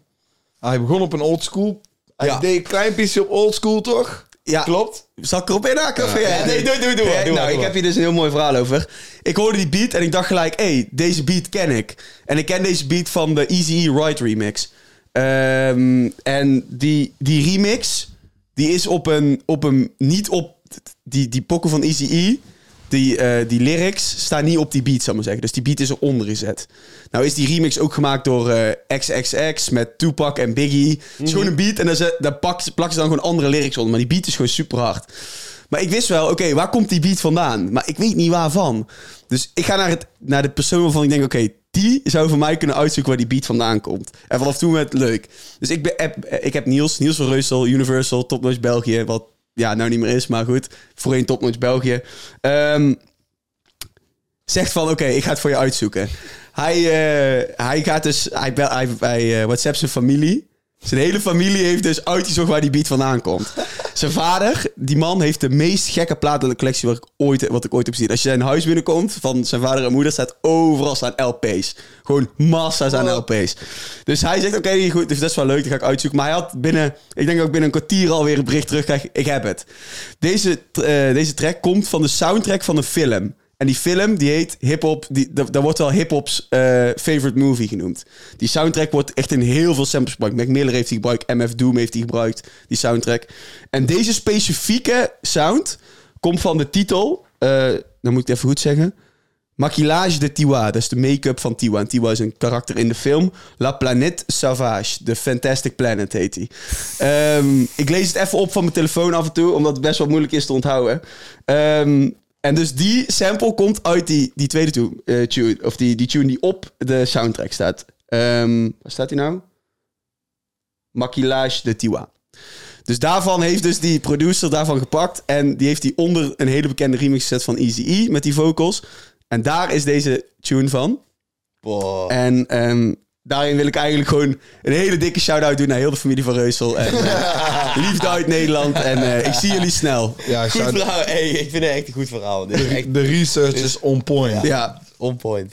Speaker 2: Hij begon op een old school. Hij
Speaker 3: Ja.
Speaker 2: deed een klein piece op old school, toch?
Speaker 1: Ja.
Speaker 3: Klopt?
Speaker 1: Zal ik erop inhaken? of vind jij
Speaker 3: Ja,
Speaker 1: het
Speaker 3: nee,
Speaker 1: niet?
Speaker 3: doe- doe- doe maar,
Speaker 1: Nee,
Speaker 3: doe maar,
Speaker 1: nou,
Speaker 3: doe
Speaker 1: ik
Speaker 3: maar.
Speaker 1: heb hier dus een heel mooi verhaal over. Ik hoorde die beat en ik dacht gelijk, hé, hey, deze beat ken ik. En ik ken deze beat van de Easy E Ride remix. Ehm, en die, die remix, die is op een, op een niet op die, die pokken van Easy E. Die, eh, die lyrics staan niet op die beat, zou ik maar zeggen. Dus die beat is eronder gezet. Nou is die remix ook gemaakt door eh, XXX met Tupac en Biggie. Het is gewoon een beat en daar, zet, daar pakt, plakken ze dan gewoon andere lyrics onder. Maar die beat is gewoon super hard. Maar ik wist wel, oké, waar komt die beat vandaan? Maar ik weet niet waarvan. Dus ik ga naar, het, naar de persoon waarvan ik denk, oké, die zou voor mij kunnen uitzoeken waar die beat vandaan komt. En vanaf toen werd het leuk. Dus ik, ben, heb, eh, ik heb Niels, Niels van Reusel, Universal, Topnotch België. Wat ja, nou niet meer is, maar goed. Voorheen Topnotch België. Ehm zegt van, oké, ik ga het voor je uitzoeken. Hij, eh, hij gaat dus, hij, bel, hij, hij eh, WhatsApp zijn familie. Zijn hele familie heeft dus uitgezocht waar die beat vandaan komt. Zijn vader, die man, heeft de meest gekke platencollectie wat ik ooit, wat ik ooit heb gezien. Als je zijn huis binnenkomt, van zijn vader en moeder, staat overal staan LP's. Gewoon massa's aan LP's. Dus hij zegt, oké, goed, dus dat is wel leuk, dat ga ik uitzoeken. Maar hij had binnen, ik denk ook binnen een kwartier alweer een bericht terugkrijg. Ik heb het. Deze, eh, deze track komt van de soundtrack van een film. En die film, die heet hip-hop. die- dat- Daar wordt wel hip-hop's eh, favorite movie genoemd. Die soundtrack wordt echt in heel veel samples gebruikt. Mac Miller heeft die gebruikt, MF Doom heeft die gebruikt, die soundtrack. En deze specifieke sound komt van de titel. eh dan moet ik het even goed zeggen. Maquillage de Tiwa, dat is de make-up van Tiwa. En Tiwa is een karakter in de film. La Planète Savage, de Fantastic Planet heet hij. Ehm, ik lees het even op van mijn telefoon af en toe, omdat het best wel moeilijk is te onthouden. Ehm, en dus die sample komt uit die, die tweede tu- eh, tune, of die, die tune die op de soundtrack staat. Ehm, waar staat die nou? Maquillage de Tiwa. Dus daarvan heeft dus die producer daarvan gepakt. En die heeft die onder een hele bekende remix gezet van Easy E met die vocals. En daar is deze tune van.
Speaker 3: Boah.
Speaker 1: En ehm, daarin wil ik eigenlijk gewoon een hele dikke shout-out doen naar heel de familie van Reusel. En [LAUGHS] eh, liefde uit Nederland. En eh, ik zie jullie snel.
Speaker 2: Ja,
Speaker 3: Goed
Speaker 2: shout-
Speaker 3: verhaal. Nou, Hey, ik vind het echt een goed verhaal. Dit is echt
Speaker 2: de research is on point.
Speaker 1: Ja.
Speaker 3: on point.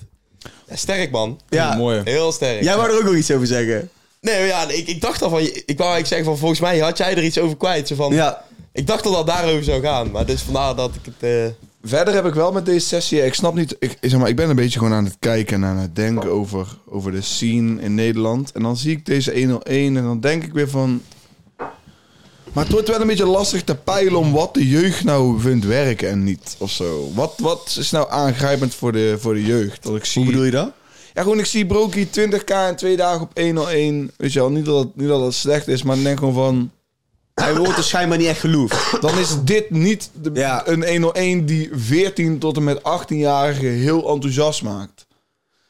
Speaker 3: Ja, sterk, man.
Speaker 1: ja.
Speaker 2: Mooi.
Speaker 3: Heel sterk.
Speaker 1: Jij wou er ook nog iets over zeggen.
Speaker 3: Nee, ja, ik, ik dacht al van... Ik wou eigenlijk zeggen van... Volgens mij had jij er iets over kwijt. Zo van,
Speaker 1: Ja.
Speaker 3: Ik dacht al dat het daarover zou gaan. Maar dus vandaar dat ik het... eh,
Speaker 2: Verder heb ik wel met deze sessie, ik snap niet, ik, zeg maar, ik ben een beetje gewoon aan het kijken en aan het denken over, over de scene in Nederland. En dan zie ik deze 101 en dan denk ik weer van, Maar het wordt wel een beetje lastig te peilen om wat de jeugd nou vindt werken en niet of zo. Wat, wat is nou aangrijpend voor de, voor de jeugd? Dat ik zie...
Speaker 1: Hoe bedoel je dat?
Speaker 2: Ja, gewoon ik zie Broky 20k in twee dagen op 101. Weet je wel, niet dat het, niet dat het slecht is, maar ik denk gewoon van...
Speaker 1: Hij wordt er schijnbaar niet echt geloofd.
Speaker 2: Dan is dit niet de,
Speaker 1: Ja.
Speaker 2: een 101 die 14 tot en met 18-jarigen heel enthousiast maakt.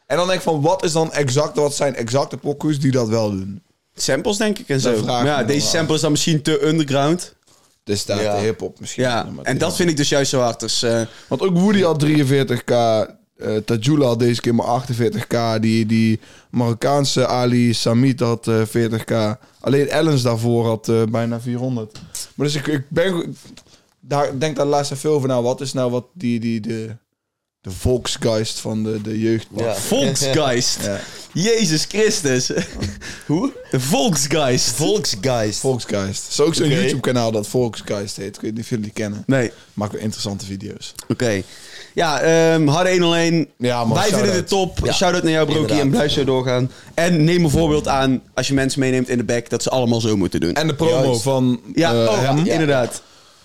Speaker 2: En dan denk ik van, wat is dan exact, wat zijn exacte pokus die dat wel doen?
Speaker 1: Samples denk ik en
Speaker 2: Dat
Speaker 1: zo. Maar
Speaker 2: vraag ik
Speaker 1: ja,
Speaker 2: me
Speaker 1: deze
Speaker 2: wel.
Speaker 1: sample is dan misschien te underground.
Speaker 2: Dus staat
Speaker 3: Ja.
Speaker 2: de hip-hop misschien.
Speaker 1: Ja,
Speaker 2: Maar
Speaker 1: en dat vind ik dus juist zo hard. Dus, eh,
Speaker 2: Want ook Woody had 43k. eh Tajula had deze keer maar 48k. Die, die Marokkaanse Ali Samit had eh, 40k. Alleen Ellens daarvoor had eh, bijna 400. Maar dus ik, ik ben, ik daar, denk daar laatst even over na. Wat is nou wat die, die de, de volksgeist van de, de jeugd was?
Speaker 3: Ja.
Speaker 1: Volksgeist.
Speaker 2: Ja.
Speaker 1: Jezus Christus. Hoe? De Volksgeist.
Speaker 3: Volksgeist.
Speaker 2: Volksgeist. Er is ook zo'n
Speaker 3: Oké.
Speaker 2: YouTube kanaal dat Volksgeist heet. Ik weet niet of jullie die kennen.
Speaker 1: nee.
Speaker 2: Maakt wel interessante video's.
Speaker 1: Oké. Ja, ehm harde 101.
Speaker 2: Ja, man,
Speaker 1: Wij vinden
Speaker 2: shout-out.
Speaker 1: het top.
Speaker 3: Ja.
Speaker 1: Shout-out naar jou, Brokie.
Speaker 3: Inderdaad.
Speaker 1: En blijf zo doorgaan. En neem een voorbeeld aan, als je mensen meeneemt in de back, dat ze allemaal zo moeten doen.
Speaker 2: En de promo
Speaker 3: Juist.
Speaker 2: van
Speaker 1: ja,
Speaker 2: eh,
Speaker 1: oh,
Speaker 2: hem.
Speaker 1: ja, inderdaad.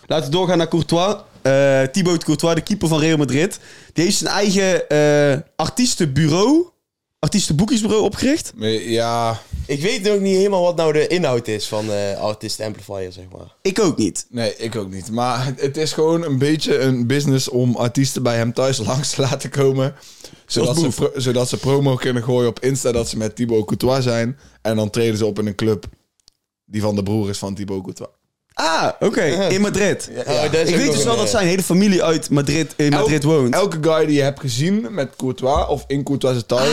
Speaker 1: Laten we doorgaan naar Courtois. Eh Thibaut Courtois, de keeper van Real Madrid. Die heeft zijn eigen eh artiestenbureau, artiestenboekingsbureau opgericht.
Speaker 2: Ja,
Speaker 3: Ik weet nog niet helemaal wat nou de inhoud is van eh Artist Amplifier, zeg maar.
Speaker 1: Ik ook niet.
Speaker 2: Nee, ik ook niet. Maar het- het is gewoon een beetje een business om artiesten bij hem thuis [LAUGHS] langs te laten komen. Zodat
Speaker 1: Als
Speaker 2: ze,
Speaker 1: boef.
Speaker 2: pro- zodat ze promo kunnen gooien op Insta dat ze met Thibaut Courtois zijn. En dan treden ze op in een club die van de broer is van Thibaut Courtois.
Speaker 1: Ah, oké.
Speaker 2: [LAUGHS]
Speaker 1: In Madrid.
Speaker 3: Oh, dat
Speaker 1: Ik
Speaker 3: is ook
Speaker 1: weet
Speaker 3: nog
Speaker 1: dus
Speaker 3: een,
Speaker 1: wel dat
Speaker 3: eh,
Speaker 1: zijn hele familie uit Madrid, in
Speaker 2: Elk-
Speaker 1: Madrid woont.
Speaker 2: Elke guy die je hebt gezien met Courtois of in Courtois' tuin,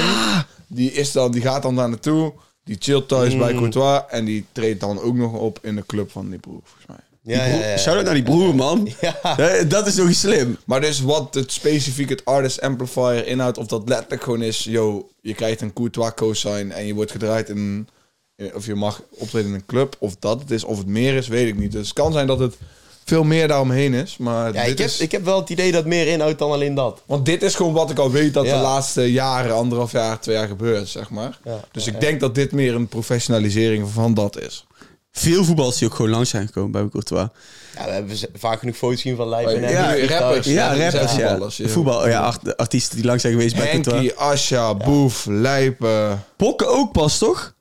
Speaker 2: die, is dan, die gaat dan daar naartoe. Die chillt thuis bij Courtois en die treedt dan ook nog op in de club van die broer, volgens mij.
Speaker 3: Ja, ja, ja.
Speaker 1: Shout-out naar die broer, man. Eh, Dat is toch iets slim.
Speaker 2: Maar dus wat het specifiek het Artist Amplifier inhoudt, of dat letterlijk gewoon is, yo, je krijgt een Courtois cosign en je wordt gedraaid in, in- of je mag optreden in een club, of dat het is, of het meer is, weet ik niet. Dus het kan zijn dat het veel meer daaromheen is, maar
Speaker 3: Ja,
Speaker 2: dit
Speaker 3: ik, heb,
Speaker 2: is,
Speaker 3: ik heb wel het idee dat meer inhoudt dan alleen dat.
Speaker 2: want dit is gewoon wat ik al weet dat
Speaker 3: Ja.
Speaker 2: de laatste jaren, anderhalf jaar, twee jaar gebeurt, zeg maar.
Speaker 3: Ja,
Speaker 2: dus ik denk dat dit meer een professionalisering van dat is.
Speaker 1: Veel voetballers die ook gewoon langs zijn gekomen bij Courtois.
Speaker 3: Ja, we hebben z- vaak genoeg foto's gezien van live. en
Speaker 2: Ja,
Speaker 3: Henry
Speaker 2: rappers.
Speaker 3: thuis.
Speaker 1: Ja,
Speaker 2: die zijn
Speaker 1: rappers, ja.
Speaker 2: voetballers, ja.
Speaker 1: Voetbal, ja, art- artiesten die langs zijn geweest bij Courtois.
Speaker 2: Henkie, Asja, Boef, Lijpen.
Speaker 1: Pokken ook pas, toch?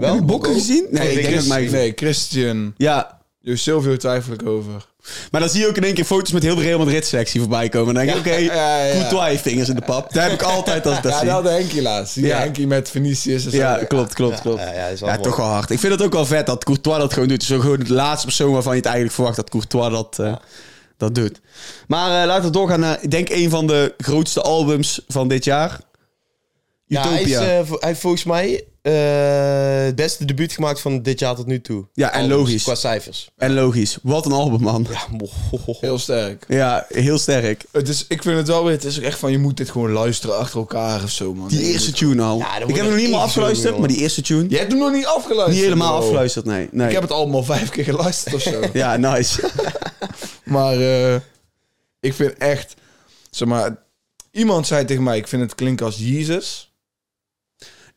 Speaker 1: Heb je Bokken gezien? Nee, ik denk dat mij...
Speaker 2: nee, Christian.
Speaker 1: Ja,
Speaker 2: Jo, Silvio twijfel ik over.
Speaker 1: maar dan zie je ook in één keer foto's met heel de Real Madrid-selectie voorbij komen. Dan denk ik, oké,
Speaker 2: ja, ja.
Speaker 1: Courtois heeft vingers in de pap. Daar heb ik altijd als ik dat
Speaker 2: Ja,
Speaker 1: zie.
Speaker 2: dat de Henkie laatst. Die
Speaker 1: Ja.
Speaker 2: Henkie met Vinicius. en zo.
Speaker 1: Ja, klopt, klopt, klopt.
Speaker 3: ja,
Speaker 1: Ja,
Speaker 3: ja, is wel mooi.
Speaker 1: toch wel hard. Ik vind het ook wel vet dat Courtois dat gewoon doet. Zo gewoon de laatste persoon waarvan je het eigenlijk verwacht dat Courtois dat, eh, dat doet. Maar eh, laten we doorgaan naar, ik denk, een van de grootste albums van dit jaar.
Speaker 3: Ja,
Speaker 1: Utopia.
Speaker 3: hij, is, eh, vo- hij heeft volgens mij eh, het beste debuut gemaakt van dit jaar tot nu toe.
Speaker 1: Ja, en logisch.
Speaker 3: Qua cijfers.
Speaker 1: En logisch. Wat een album, man.
Speaker 3: Ja, mo- ho, ho, ho.
Speaker 2: Heel sterk.
Speaker 1: Ja, heel sterk.
Speaker 2: Het is, Eh, dus ik vind het wel weer, het is ook echt van, je moet dit gewoon luisteren achter elkaar of zo, man.
Speaker 1: Die
Speaker 2: Je
Speaker 1: eerste
Speaker 2: moet-
Speaker 1: tune al.
Speaker 3: Ja, dat
Speaker 1: ik heb
Speaker 3: wordt
Speaker 1: hem
Speaker 3: echt
Speaker 1: niet helemaal
Speaker 3: iets
Speaker 1: afgeluisterd,
Speaker 3: jongen.
Speaker 1: maar die eerste tune.
Speaker 2: Jij hebt hem nog niet afgeluisterd.
Speaker 1: Niet helemaal
Speaker 2: bro.
Speaker 1: afgeluisterd, nee. nee.
Speaker 2: Ik heb het allemaal vijf keer geluisterd of [LAUGHS] zo.
Speaker 1: Ja,
Speaker 3: [LAUGHS]
Speaker 1: nice.
Speaker 2: Maar eh, ik vind echt, zeg maar, iemand zei tegen mij, ik vind het klinken als Jezus.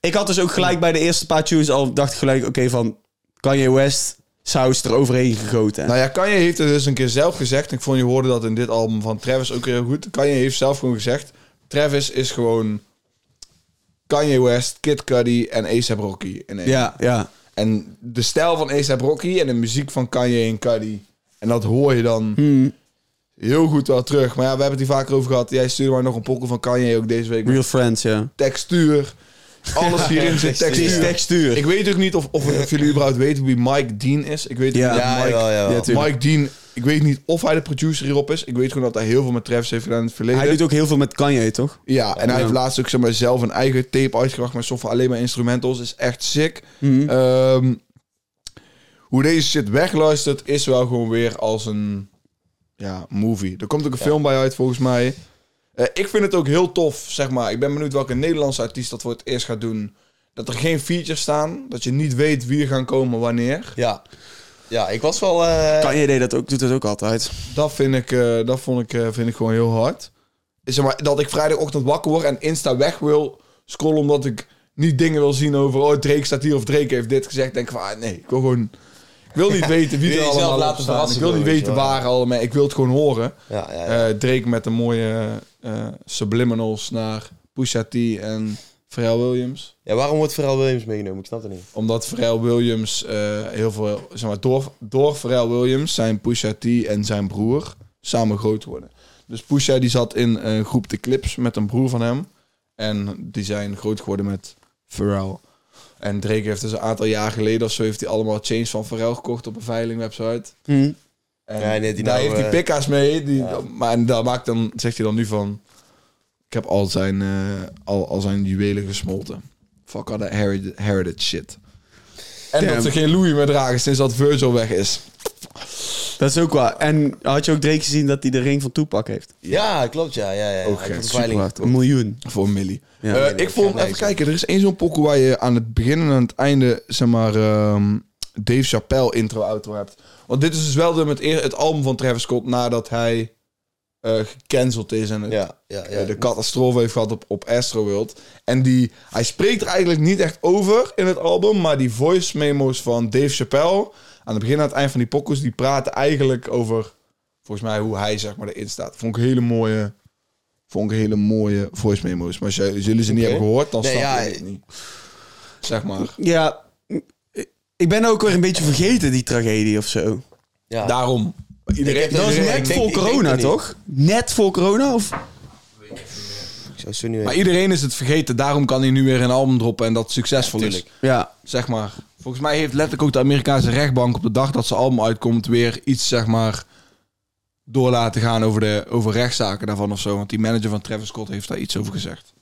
Speaker 1: ik had dus ook gelijk bij de eerste paar tunes al, dacht ik gelijk, oké, van Kanye West, saus er overheen gegoten.
Speaker 2: Nou ja, Kanye heeft het dus een keer zelf gezegd. Ik vond je hoorde dat in dit album van Travis ook heel goed. Kanye heeft zelf gewoon gezegd, Travis is gewoon Kanye West, Kid Cudi en A$AP Rocky in één.
Speaker 1: ja, ja.
Speaker 2: En de stijl van A$AP Rocky en de muziek van Kanye en Cudi. En dat hoor je dan heel goed wel terug. Maar ja, we hebben het hier vaker over gehad. Jij stuurde mij nog een pokkel van Kanye ook deze week.
Speaker 1: Real Friends, ja.
Speaker 2: Textuur. Alles hierin zit
Speaker 1: Het is
Speaker 2: textuur.
Speaker 1: [LAUGHS] textuur.
Speaker 2: Ik weet ook niet of, of, of jullie überhaupt weten wie Mike Dean is. Ik weet
Speaker 1: Ja.
Speaker 2: niet.
Speaker 3: Ja,
Speaker 2: Mike,
Speaker 3: jawel, jawel.
Speaker 1: Ja, tuurlijk.
Speaker 2: Mike Dean, ik weet niet of hij de producer hierop is. Ik weet gewoon dat hij heel veel met Travis heeft gedaan in het verleden.
Speaker 1: Hij doet ook heel veel met Kanye, toch?
Speaker 2: Ja, en hij
Speaker 1: Ja.
Speaker 2: heeft laatst ook zeg maar, zelf een eigen tape uitgebracht met software alleen maar instrumentals. Is echt sick. Ehm, hoe deze shit wegluistert is wel gewoon weer als een ja, movie. Er komt ook een film bij uit volgens mij. Eh, ik vind het ook heel tof, zeg maar. Ik ben benieuwd welke Nederlandse artiest dat voor het eerst gaat doen. Dat er geen features staan, dat je niet weet wie er gaan komen wanneer.
Speaker 3: [LAUGHS] Ja. Ja, ik was wel... eh,
Speaker 1: Kanye deed dat ook, doet dat ook altijd.
Speaker 2: Dat vind ik, eh, dat vond ik, eh, vind ik gewoon heel hard. Zeg maar, dat ik vrijdagochtend wakker word en Insta weg wil scrollen omdat ik niet dingen wil zien over oh Drake staat hier of Drake heeft dit gezegd. Denk ik van ah, nee, ik wil gewoon. Ik wil
Speaker 3: [LAUGHS]
Speaker 2: niet weten wie
Speaker 3: Wil
Speaker 2: er
Speaker 3: je jezelf
Speaker 2: allemaal
Speaker 3: laten
Speaker 2: op staan. Ik
Speaker 3: verrassen,
Speaker 2: wil niet
Speaker 3: gewoon, weet
Speaker 2: weten
Speaker 3: je wel.
Speaker 2: waar allemaal. Ik wil het gewoon horen.
Speaker 3: Ja, ja, ja.
Speaker 2: Eh Drake met de mooie eh, subliminals naar Pusha T en Pharrell Williams.
Speaker 3: ja, waarom wordt Pharrell Williams meegenomen? Ik snap het niet.
Speaker 2: Omdat Pharrell Williams eh, heel veel... Zeg maar, door, door Pharrell Williams zijn Pusha T en zijn broer samen groot worden. Dus Pusha die zat in een groep de clips met een broer van hem. En die zijn groot geworden met Pharrell. En Drake heeft dus een aantal jaar geleden of zo... heeft hij allemaal chains van Pharrell gekocht op een veilingwebsite.
Speaker 1: Hm.
Speaker 2: En
Speaker 3: Ja, nee, die
Speaker 2: daar
Speaker 3: nou,
Speaker 2: heeft hij
Speaker 3: eh,
Speaker 2: pikka's mee. Die,
Speaker 3: ja.
Speaker 2: Maar en daar maakt dan, zegt hij dan nu van... Ik heb al zijn, eh, al, al zijn juwelen gesmolten. Fuck all that heritage, heritage shit. En
Speaker 1: Damn.
Speaker 2: dat ze geen Louis meer dragen sinds dat Virgil weg is.
Speaker 1: Dat is ook waar. En had je ook Drake gezien dat hij de ring van Toepak heeft?
Speaker 3: Ja, klopt. Ja, ja, ja.
Speaker 2: Ook
Speaker 3: Hij
Speaker 2: gek.
Speaker 3: doet de
Speaker 1: Super
Speaker 3: veiling.
Speaker 1: hard. Een miljoen.
Speaker 2: Voor Millie.
Speaker 1: Ja.
Speaker 2: Eh,
Speaker 3: nee, nee,
Speaker 2: ik vond,
Speaker 3: ga
Speaker 2: even
Speaker 3: lezen.
Speaker 2: kijken, er is één zo'n pokoe waar je aan het begin en aan het einde, zeg maar, ehm, Dave Chappelle intro-outro hebt. Want dit is dus wel de, het, eer- het album van Travis Scott nadat hij eh, gecanceld is en het
Speaker 3: Ja, ja, ja.
Speaker 2: eh, de catastrofe heeft gehad op, op Astroworld. En die, hij spreekt er eigenlijk niet echt over in het album, maar die voice memo's van Dave Chappelle aan het begin en aan het eind van die pokkels, die praten eigenlijk over, volgens mij, hoe hij zeg maar erin staat. Vond ik hele mooie, vond ik hele mooie voice memo's. Maar als jij- als jullie ze niet
Speaker 3: Oké.
Speaker 2: hebben gehoord, dan
Speaker 3: Nee,
Speaker 2: snap
Speaker 3: ja,
Speaker 2: je het niet. Zeg maar.
Speaker 1: Ja, ik ben ook weer een beetje vergeten, die tragedie of zo.
Speaker 3: Ja.
Speaker 2: Daarom. Iedereen,
Speaker 3: Ik heb dat
Speaker 1: Dat was
Speaker 3: Iedereen-
Speaker 1: net
Speaker 3: ik denk-
Speaker 1: voor
Speaker 3: ik denk
Speaker 1: corona,
Speaker 3: het niet.
Speaker 1: toch? Net voor corona? Of?
Speaker 3: Ik zou het zo niet
Speaker 2: maar
Speaker 3: weten.
Speaker 2: iedereen is het vergeten, daarom kan hij nu weer een album droppen en dat het succesvol
Speaker 3: Ja,
Speaker 2: is.
Speaker 3: tuurlijk.
Speaker 1: Ja.
Speaker 2: zeg maar. Volgens mij heeft letterlijk ook de Amerikaanse rechtbank op de dag dat ze album uitkomt weer iets zeg maar door laten gaan over, de, over rechtszaken daarvan of zo. Want die manager van Travis Scott heeft daar iets over gezegd.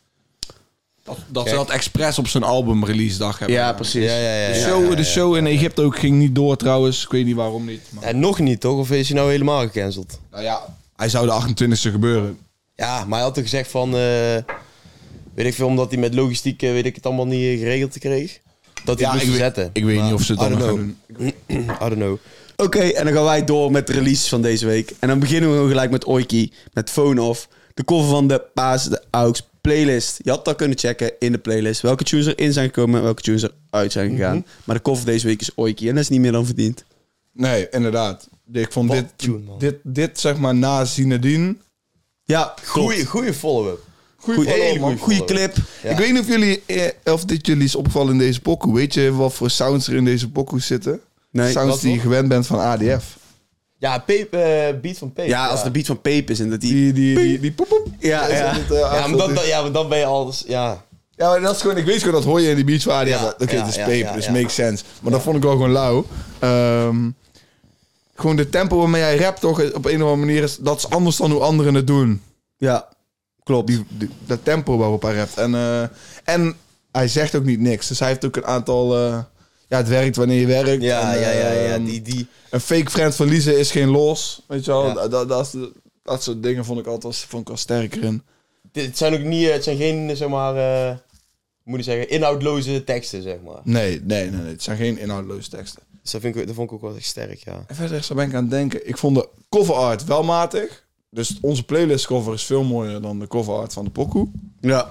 Speaker 2: Dat, dat ze
Speaker 3: Kijk.
Speaker 2: dat expres op zijn album release dag hebben.
Speaker 1: ja,
Speaker 2: gedaan.
Speaker 1: precies.
Speaker 3: Ja, ja, ja,
Speaker 2: De
Speaker 3: ja,
Speaker 2: show,
Speaker 3: ja, ja.
Speaker 2: de show in Egypte ook ging niet door trouwens. Ik weet niet waarom niet. Maar,
Speaker 3: En nog niet, toch? Of is hij nou helemaal gecanceld?
Speaker 2: nou ja, hij zou de 28e gebeuren.
Speaker 3: Ja, maar hij had toch gezegd van... eh, weet ik veel, omdat hij met logistiek, eh, weet ik het allemaal niet eh, geregeld kreeg. Dat hij
Speaker 2: Ja,
Speaker 3: het
Speaker 2: ik
Speaker 3: moest
Speaker 2: weet-
Speaker 3: zetten.
Speaker 2: ik weet niet of ze het
Speaker 3: I
Speaker 2: dan
Speaker 3: don't
Speaker 2: nog
Speaker 3: know. I don't know.
Speaker 1: Oké, en dan gaan wij door met de releases van deze week. En dan beginnen we gewoon gelijk met Oiki, met Phone Off. De cover van de Paas de Aux playlist. Je had dat kunnen checken in de playlist. Welke tunes er in zijn gekomen en welke tunes er uit zijn gegaan. Maar de cover deze week is Oiki en dat is niet meer dan verdiend.
Speaker 2: Nee, inderdaad. Ik vond
Speaker 3: Wat
Speaker 2: dit,
Speaker 3: tune, man.
Speaker 2: dit, dit zeg maar na Zinedine.
Speaker 1: Ja,
Speaker 3: Goeie, goeie follow-up.
Speaker 2: Goeie,
Speaker 3: Hele
Speaker 2: follow-up, man.
Speaker 3: goeie
Speaker 1: Goede
Speaker 3: follow-up.
Speaker 1: clip.
Speaker 3: Ja.
Speaker 2: Ik weet niet of jullie eh, of dit jullie is opgevallen in deze pokoe. Weet je wat voor sounds er in deze pokoe zitten?
Speaker 1: Nee,
Speaker 2: sounds
Speaker 3: wat
Speaker 2: die je
Speaker 3: nog?
Speaker 2: gewend bent van ADF.
Speaker 3: Ja, Peep, eh, beat van Peep.
Speaker 1: Ja, als de beat van Peep is en dat die...
Speaker 2: Die, die, die, die poep, poep.
Speaker 1: Ja,
Speaker 2: Is
Speaker 1: ja.
Speaker 2: dat het, eh,
Speaker 3: Ja, maar
Speaker 2: afstand
Speaker 3: dan,
Speaker 2: is?
Speaker 3: dan- ja, maar dan ben je alles... Ja.
Speaker 2: ja, maar dat is gewoon, ik weet gewoon dat hoor je in die beats van ADF.
Speaker 3: Ja,
Speaker 2: Oké,
Speaker 3: ja,
Speaker 2: het is
Speaker 3: ja,
Speaker 2: paper,
Speaker 3: ja,
Speaker 2: dus
Speaker 3: ja.
Speaker 2: makes sense. Maar dat vond ik wel gewoon lauw. Ehm, gewoon de tempo waarmee hij rapt toch op een of andere manier is, dat is anders dan hoe anderen het doen.
Speaker 1: Ja, klopt.
Speaker 2: Die, die- dat tempo waarop hij rapt. En, eh, en hij zegt ook niet niks. Dus hij heeft ook een aantal... eh, ja, het werkt wanneer je werkt.
Speaker 3: Ja,
Speaker 2: En,
Speaker 3: ja, ja, ja.
Speaker 2: ehm,
Speaker 3: Die, die...
Speaker 2: een fake friend verliezen is geen los. Weet je wel,
Speaker 3: Ja.
Speaker 2: dat, dat, dat, is de- dat soort dingen vond ik altijd vond ik wel sterker in.
Speaker 3: Dit het zijn ook niet... eh, Het zijn geen, eh, zeg maar... eh, moet ik zeggen, inhoudloze teksten, zeg maar.
Speaker 2: Nee, nee, nee, nee. Het zijn geen inhoudloze teksten.
Speaker 3: Dus dat, vind ik, dat vond ik ook wel echt sterk, ja.
Speaker 2: En verder zo ben ik aan het denken. Ik vond de cover art wel matig. Dus onze playlist cover is veel mooier dan de cover art van de pokoe.
Speaker 1: Ja.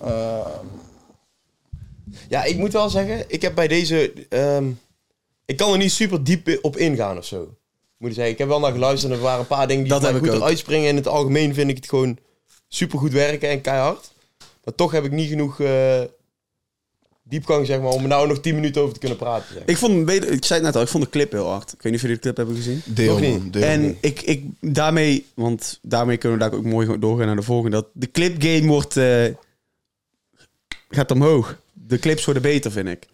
Speaker 2: Eh,
Speaker 3: Ja, ik moet wel zeggen, ik heb bij deze. ehm, ik kan er niet super diep op ingaan of zo. Moet ik zeggen, ik heb wel naar geluisterd en er waren een paar dingen die
Speaker 1: Dat
Speaker 3: mij
Speaker 1: heb ik
Speaker 3: goed
Speaker 1: ook.
Speaker 3: eruit springen. In het algemeen vind ik het gewoon super goed werken en keihard. Maar toch heb ik niet genoeg eh, diepgang, zeg maar, om er nou nog 10 minuten over te kunnen praten. Zeg.
Speaker 1: Ik vond hem beter... Ik zei het net al, ik vond de clip heel hard. Ik weet niet of jullie de clip hebben gezien.
Speaker 2: deel,
Speaker 3: Nog niet.
Speaker 2: man, deel.
Speaker 1: En ik, ik daarmee, want daarmee kunnen we daar ook mooi gewoon doorgaan naar de volgende. Dat de clip game wordt eh, gaat omhoog. De clips worden beter, vind ik.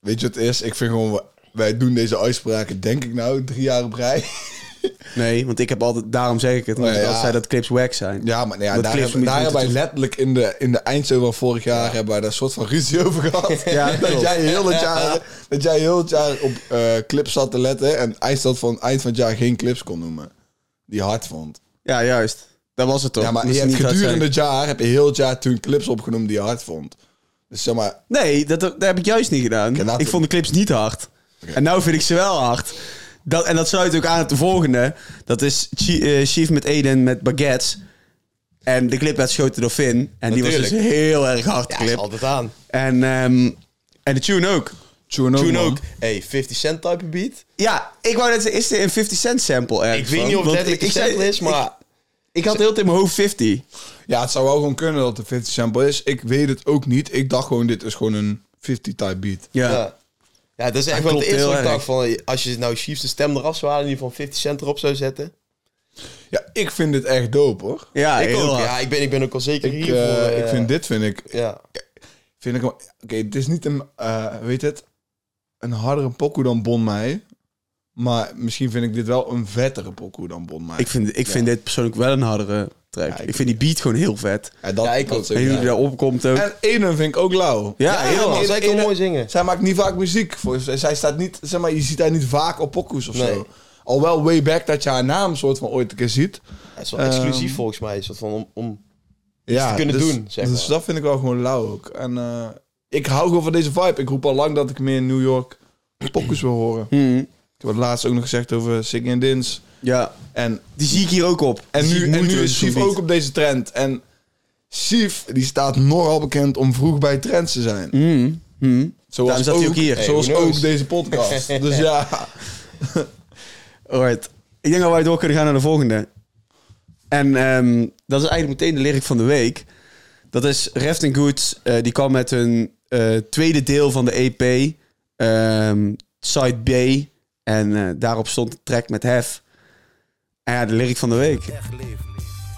Speaker 2: Weet je wat het is? Ik vind gewoon, wij doen deze uitspraken, denk ik nou, drie jaar op rij.
Speaker 1: Nee, want ik heb altijd, daarom zeg ik het, omdat
Speaker 2: Oh, ja.
Speaker 1: ik altijd zei dat clips wack zijn.
Speaker 2: Ja, maar nou ja,
Speaker 1: Dat
Speaker 2: daar,
Speaker 1: clips
Speaker 2: hebben,
Speaker 1: moeten-
Speaker 2: daar hebben
Speaker 1: moeten
Speaker 2: wij letterlijk in de, in de eindshow van vorig jaar hebben wij daar een soort van ruzie over [LAUGHS] gehad.
Speaker 1: Ja,
Speaker 2: dat,
Speaker 1: klopt.
Speaker 2: jij heel het jaar, dat jij heel het jaar op eh, clips zat te letten en eind dat van eind van het jaar geen clips kon noemen. Die hard vond.
Speaker 1: Ja, juist. Dat was het toch?
Speaker 2: Ja, maar
Speaker 1: Moest
Speaker 2: je hebt
Speaker 1: niet hard
Speaker 2: gedurende
Speaker 1: zijn.
Speaker 2: het jaar heb je heel het jaar toen clips opgenomen die je hard vond. Dus zeg maar,
Speaker 1: Nee, dat, dat heb ik juist niet gedaan.
Speaker 2: laten
Speaker 1: Ik
Speaker 2: we-
Speaker 1: vond de clips niet hard. En nou vind ik ze wel hard. Dat, en dat sluit ook aan op de volgende. Dat is Chi- eh, Chief met Eden met baguettes. En de clip werd geschoten door Finn. En die was dus
Speaker 3: Natuurlijk.
Speaker 1: heel erg hard
Speaker 3: Ja,
Speaker 1: clip.
Speaker 3: is altijd aan.
Speaker 1: En, ehm, en de tune ook.
Speaker 2: Tune ook,
Speaker 3: Toen
Speaker 2: man.
Speaker 3: ook, hey, 50 cent type beat.
Speaker 1: Ja, ik wou net zeggen, is er een 50 cent sample ergens
Speaker 3: Ik weet
Speaker 1: van?
Speaker 3: niet of
Speaker 1: Want
Speaker 3: het letterlijk een
Speaker 1: ik- ik zei-
Speaker 3: sample is, maar...
Speaker 1: Ik, ik had heel de tijd in mijn hoofd 50.
Speaker 2: Ja, het zou wel gewoon kunnen dat het 50 sample is. Ik weet het ook niet. Ik dacht gewoon, dit is gewoon een 50 type beat.
Speaker 1: Ja.
Speaker 3: Ja. Ja, dat is echt
Speaker 1: Dat
Speaker 3: wel het
Speaker 1: klopt
Speaker 3: eerste wat ik
Speaker 1: heel
Speaker 3: dacht van... Als je nou Chiefs de stem eraf zou halen en die van 50 Cent erop zou zetten.
Speaker 2: Ja, ik vind dit echt dope, hoor.
Speaker 1: Ja,
Speaker 3: ik
Speaker 1: heel
Speaker 3: ook.
Speaker 1: hard.
Speaker 3: Ja, ik ben, ik ben ook al zeker
Speaker 2: Ik,
Speaker 3: hiervoor.
Speaker 2: eh, ik
Speaker 3: eh,
Speaker 2: vind dit, vind ik...
Speaker 3: Ja.
Speaker 2: Vind ik hem- Oké, het is niet een... eh, weet het? Een hardere pokoe dan Bon Mij. Maar misschien vind ik dit wel een vettere pokoe dan Bon Mij.
Speaker 1: Ik vind, ik vind dit persoonlijk wel een hardere track.
Speaker 2: ik
Speaker 1: ik, vind die beat gewoon heel vet.
Speaker 2: Ja, dat,
Speaker 3: Ja, ik
Speaker 2: dat
Speaker 3: ook.
Speaker 2: is
Speaker 1: En
Speaker 2: ja.
Speaker 1: jullie daarop komt ook.
Speaker 2: En Eden vind ik ook lauw.
Speaker 1: ja,
Speaker 3: Ja,
Speaker 1: heel
Speaker 3: man,
Speaker 1: hard.
Speaker 3: zij kan mooi zingen.
Speaker 2: Zij maakt niet vaak muziek. Voor, zij staat niet, zeg maar, je ziet haar niet vaak op pokoes of
Speaker 3: Nee.
Speaker 2: zo. Al wel way back dat je haar naam soort van ooit een keer ziet.
Speaker 3: Het is wel exclusief volgens mij. Is dat van om, om...
Speaker 2: ja,
Speaker 3: te kunnen
Speaker 2: dus,
Speaker 3: doen, zeg
Speaker 2: dus
Speaker 3: maar.
Speaker 2: dat vind ik wel gewoon lauw ook. En eh, ik hou gewoon van deze vibe. Ik roep al lang dat ik meer in New York pokus wil horen.
Speaker 1: Mhm.
Speaker 2: Ik heb het laatst ook nog gezegd over Siggy and Dins.
Speaker 1: Ja,
Speaker 2: En,
Speaker 1: die zie ik hier ook op.
Speaker 2: en,
Speaker 1: Die zie
Speaker 2: nu,
Speaker 1: ik
Speaker 2: en nu
Speaker 1: moeiteloos
Speaker 2: is Sief
Speaker 1: zo'n beat.
Speaker 2: ook op deze trend. En Sief, die staat nogal bekend om vroeg bij trends te zijn.
Speaker 1: Mhm. Mhm.
Speaker 2: Zoals
Speaker 1: Daarom zat
Speaker 2: ook,
Speaker 1: hij ook hier.
Speaker 2: Zoals
Speaker 3: Hey, who
Speaker 2: ook
Speaker 3: knows?
Speaker 2: deze podcast. dus ja,
Speaker 1: Alright. Ik denk dat wij door kunnen gaan naar de volgende. En ehm, dat is eigenlijk meteen de lyric van de week. Dat is Reft Goods. eh, die kwam met hun eh, tweede deel van de EP. ehm, Side B. En eh, daarop stond de track met Hef. En ja, de lyric van de week.
Speaker 4: echt leef.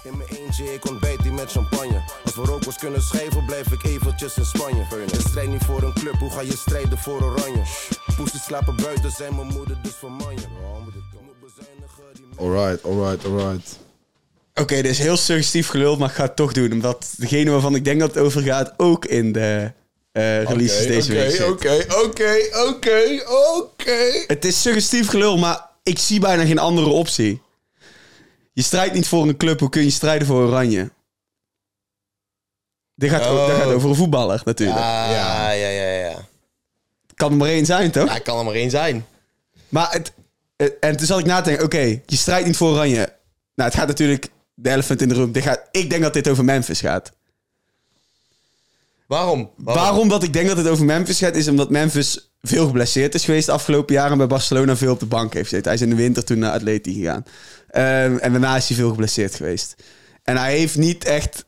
Speaker 4: In mijn eentje, ik ontbijt die met champagne. Als we rokers kunnen schrijven, blijf ik eventjes in Spanje. Je strijdt niet voor een club, hoe ga je strijden voor oranje? Poesies slapen buiten, zijn mijn moeder dus van manje. Oh, moet ik- moet bezuinigen, die
Speaker 2: alright, alright, alright.
Speaker 1: Oké, dit is heel suggestief gelul, maar ik ga het toch doen. Omdat degene waarvan ik denk dat het over gaat ook in de eh releases deze
Speaker 2: Oké,
Speaker 1: week zit.
Speaker 2: Oké, oké, oké, oké.
Speaker 1: Het is suggestief gelul, maar ik zie bijna geen andere optie. Je strijdt niet voor een club, hoe kun je strijden voor Oranje? Dit gaat, o-
Speaker 3: Oh.
Speaker 1: dit gaat over een voetballer natuurlijk.
Speaker 3: Ah,
Speaker 2: Ja.
Speaker 3: ja, ja, ja. ja.
Speaker 1: Kan er maar één zijn, toch?
Speaker 3: Ja, het kan er maar één zijn.
Speaker 1: Maar het, het- en toen zat ik na te denken, oké, je strijdt niet voor Oranje. Nou, het gaat natuurlijk de elephant in de room. Dit gaat, ik denk dat dit over Memphis gaat.
Speaker 3: Waarom?
Speaker 1: Waarom dat ik denk dat het over Memphis gaat, is omdat Memphis veel geblesseerd is geweest de afgelopen jaren. En bij Barcelona veel op de bank heeft gezeten. Hij is in de winter toen naar Atleti gegaan. Ehm, en daarna is hij veel geblesseerd geweest. En hij heeft niet echt.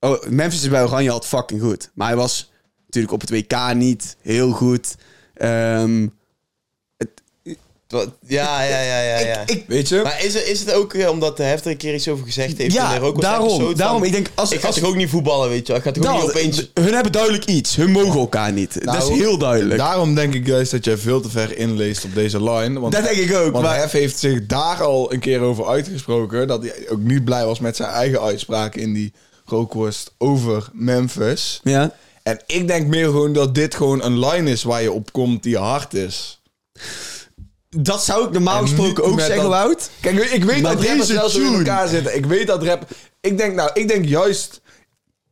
Speaker 1: Oh, Memphis is bij Oranje altijd fucking goed. Maar hij was natuurlijk op het WK niet heel goed. Ehm,
Speaker 3: Ja, ja, ja, ja. ja.
Speaker 1: ik, ik,
Speaker 2: Weet je?
Speaker 3: Maar is, er, is het ook eh, omdat de Hefter een keer iets over gezegd heeft?
Speaker 1: Ja,
Speaker 3: in de Rokos
Speaker 1: daarom,
Speaker 3: episode van,
Speaker 1: daarom. Ik denk, als-
Speaker 3: ik ga
Speaker 1: als- Nou,
Speaker 3: toch ook niet voetballen, weet je wel. Ik ga toch ook
Speaker 1: dat-
Speaker 3: niet opeens...
Speaker 1: Hun hebben duidelijk iets. Hun mogen elkaar niet. dat is
Speaker 2: Nou,
Speaker 1: heel duidelijk.
Speaker 2: Daarom denk ik juist dat jij veel te ver inleest op deze line. Want,
Speaker 1: Dat denk ik ook,
Speaker 2: Want
Speaker 1: maar-
Speaker 2: Hef heeft zich daar al een keer over uitgesproken. Dat hij ook niet blij was met zijn eigen uitspraak in die rookworst over Memphis.
Speaker 1: ja.
Speaker 2: En ik denk meer gewoon dat dit gewoon een line is waar je op komt die hard is.
Speaker 1: Dat zou ik normaal
Speaker 2: En
Speaker 1: gesproken
Speaker 2: niet
Speaker 1: ook
Speaker 2: met
Speaker 1: zeggen,
Speaker 2: dat-
Speaker 1: Wout.
Speaker 2: Kijk, ik weet
Speaker 1: Maar
Speaker 2: dat rappers
Speaker 1: deze
Speaker 2: wel zo in
Speaker 1: tune.
Speaker 2: elkaar zitten. Ik weet dat rap... Ik denk nou, ik denk juist...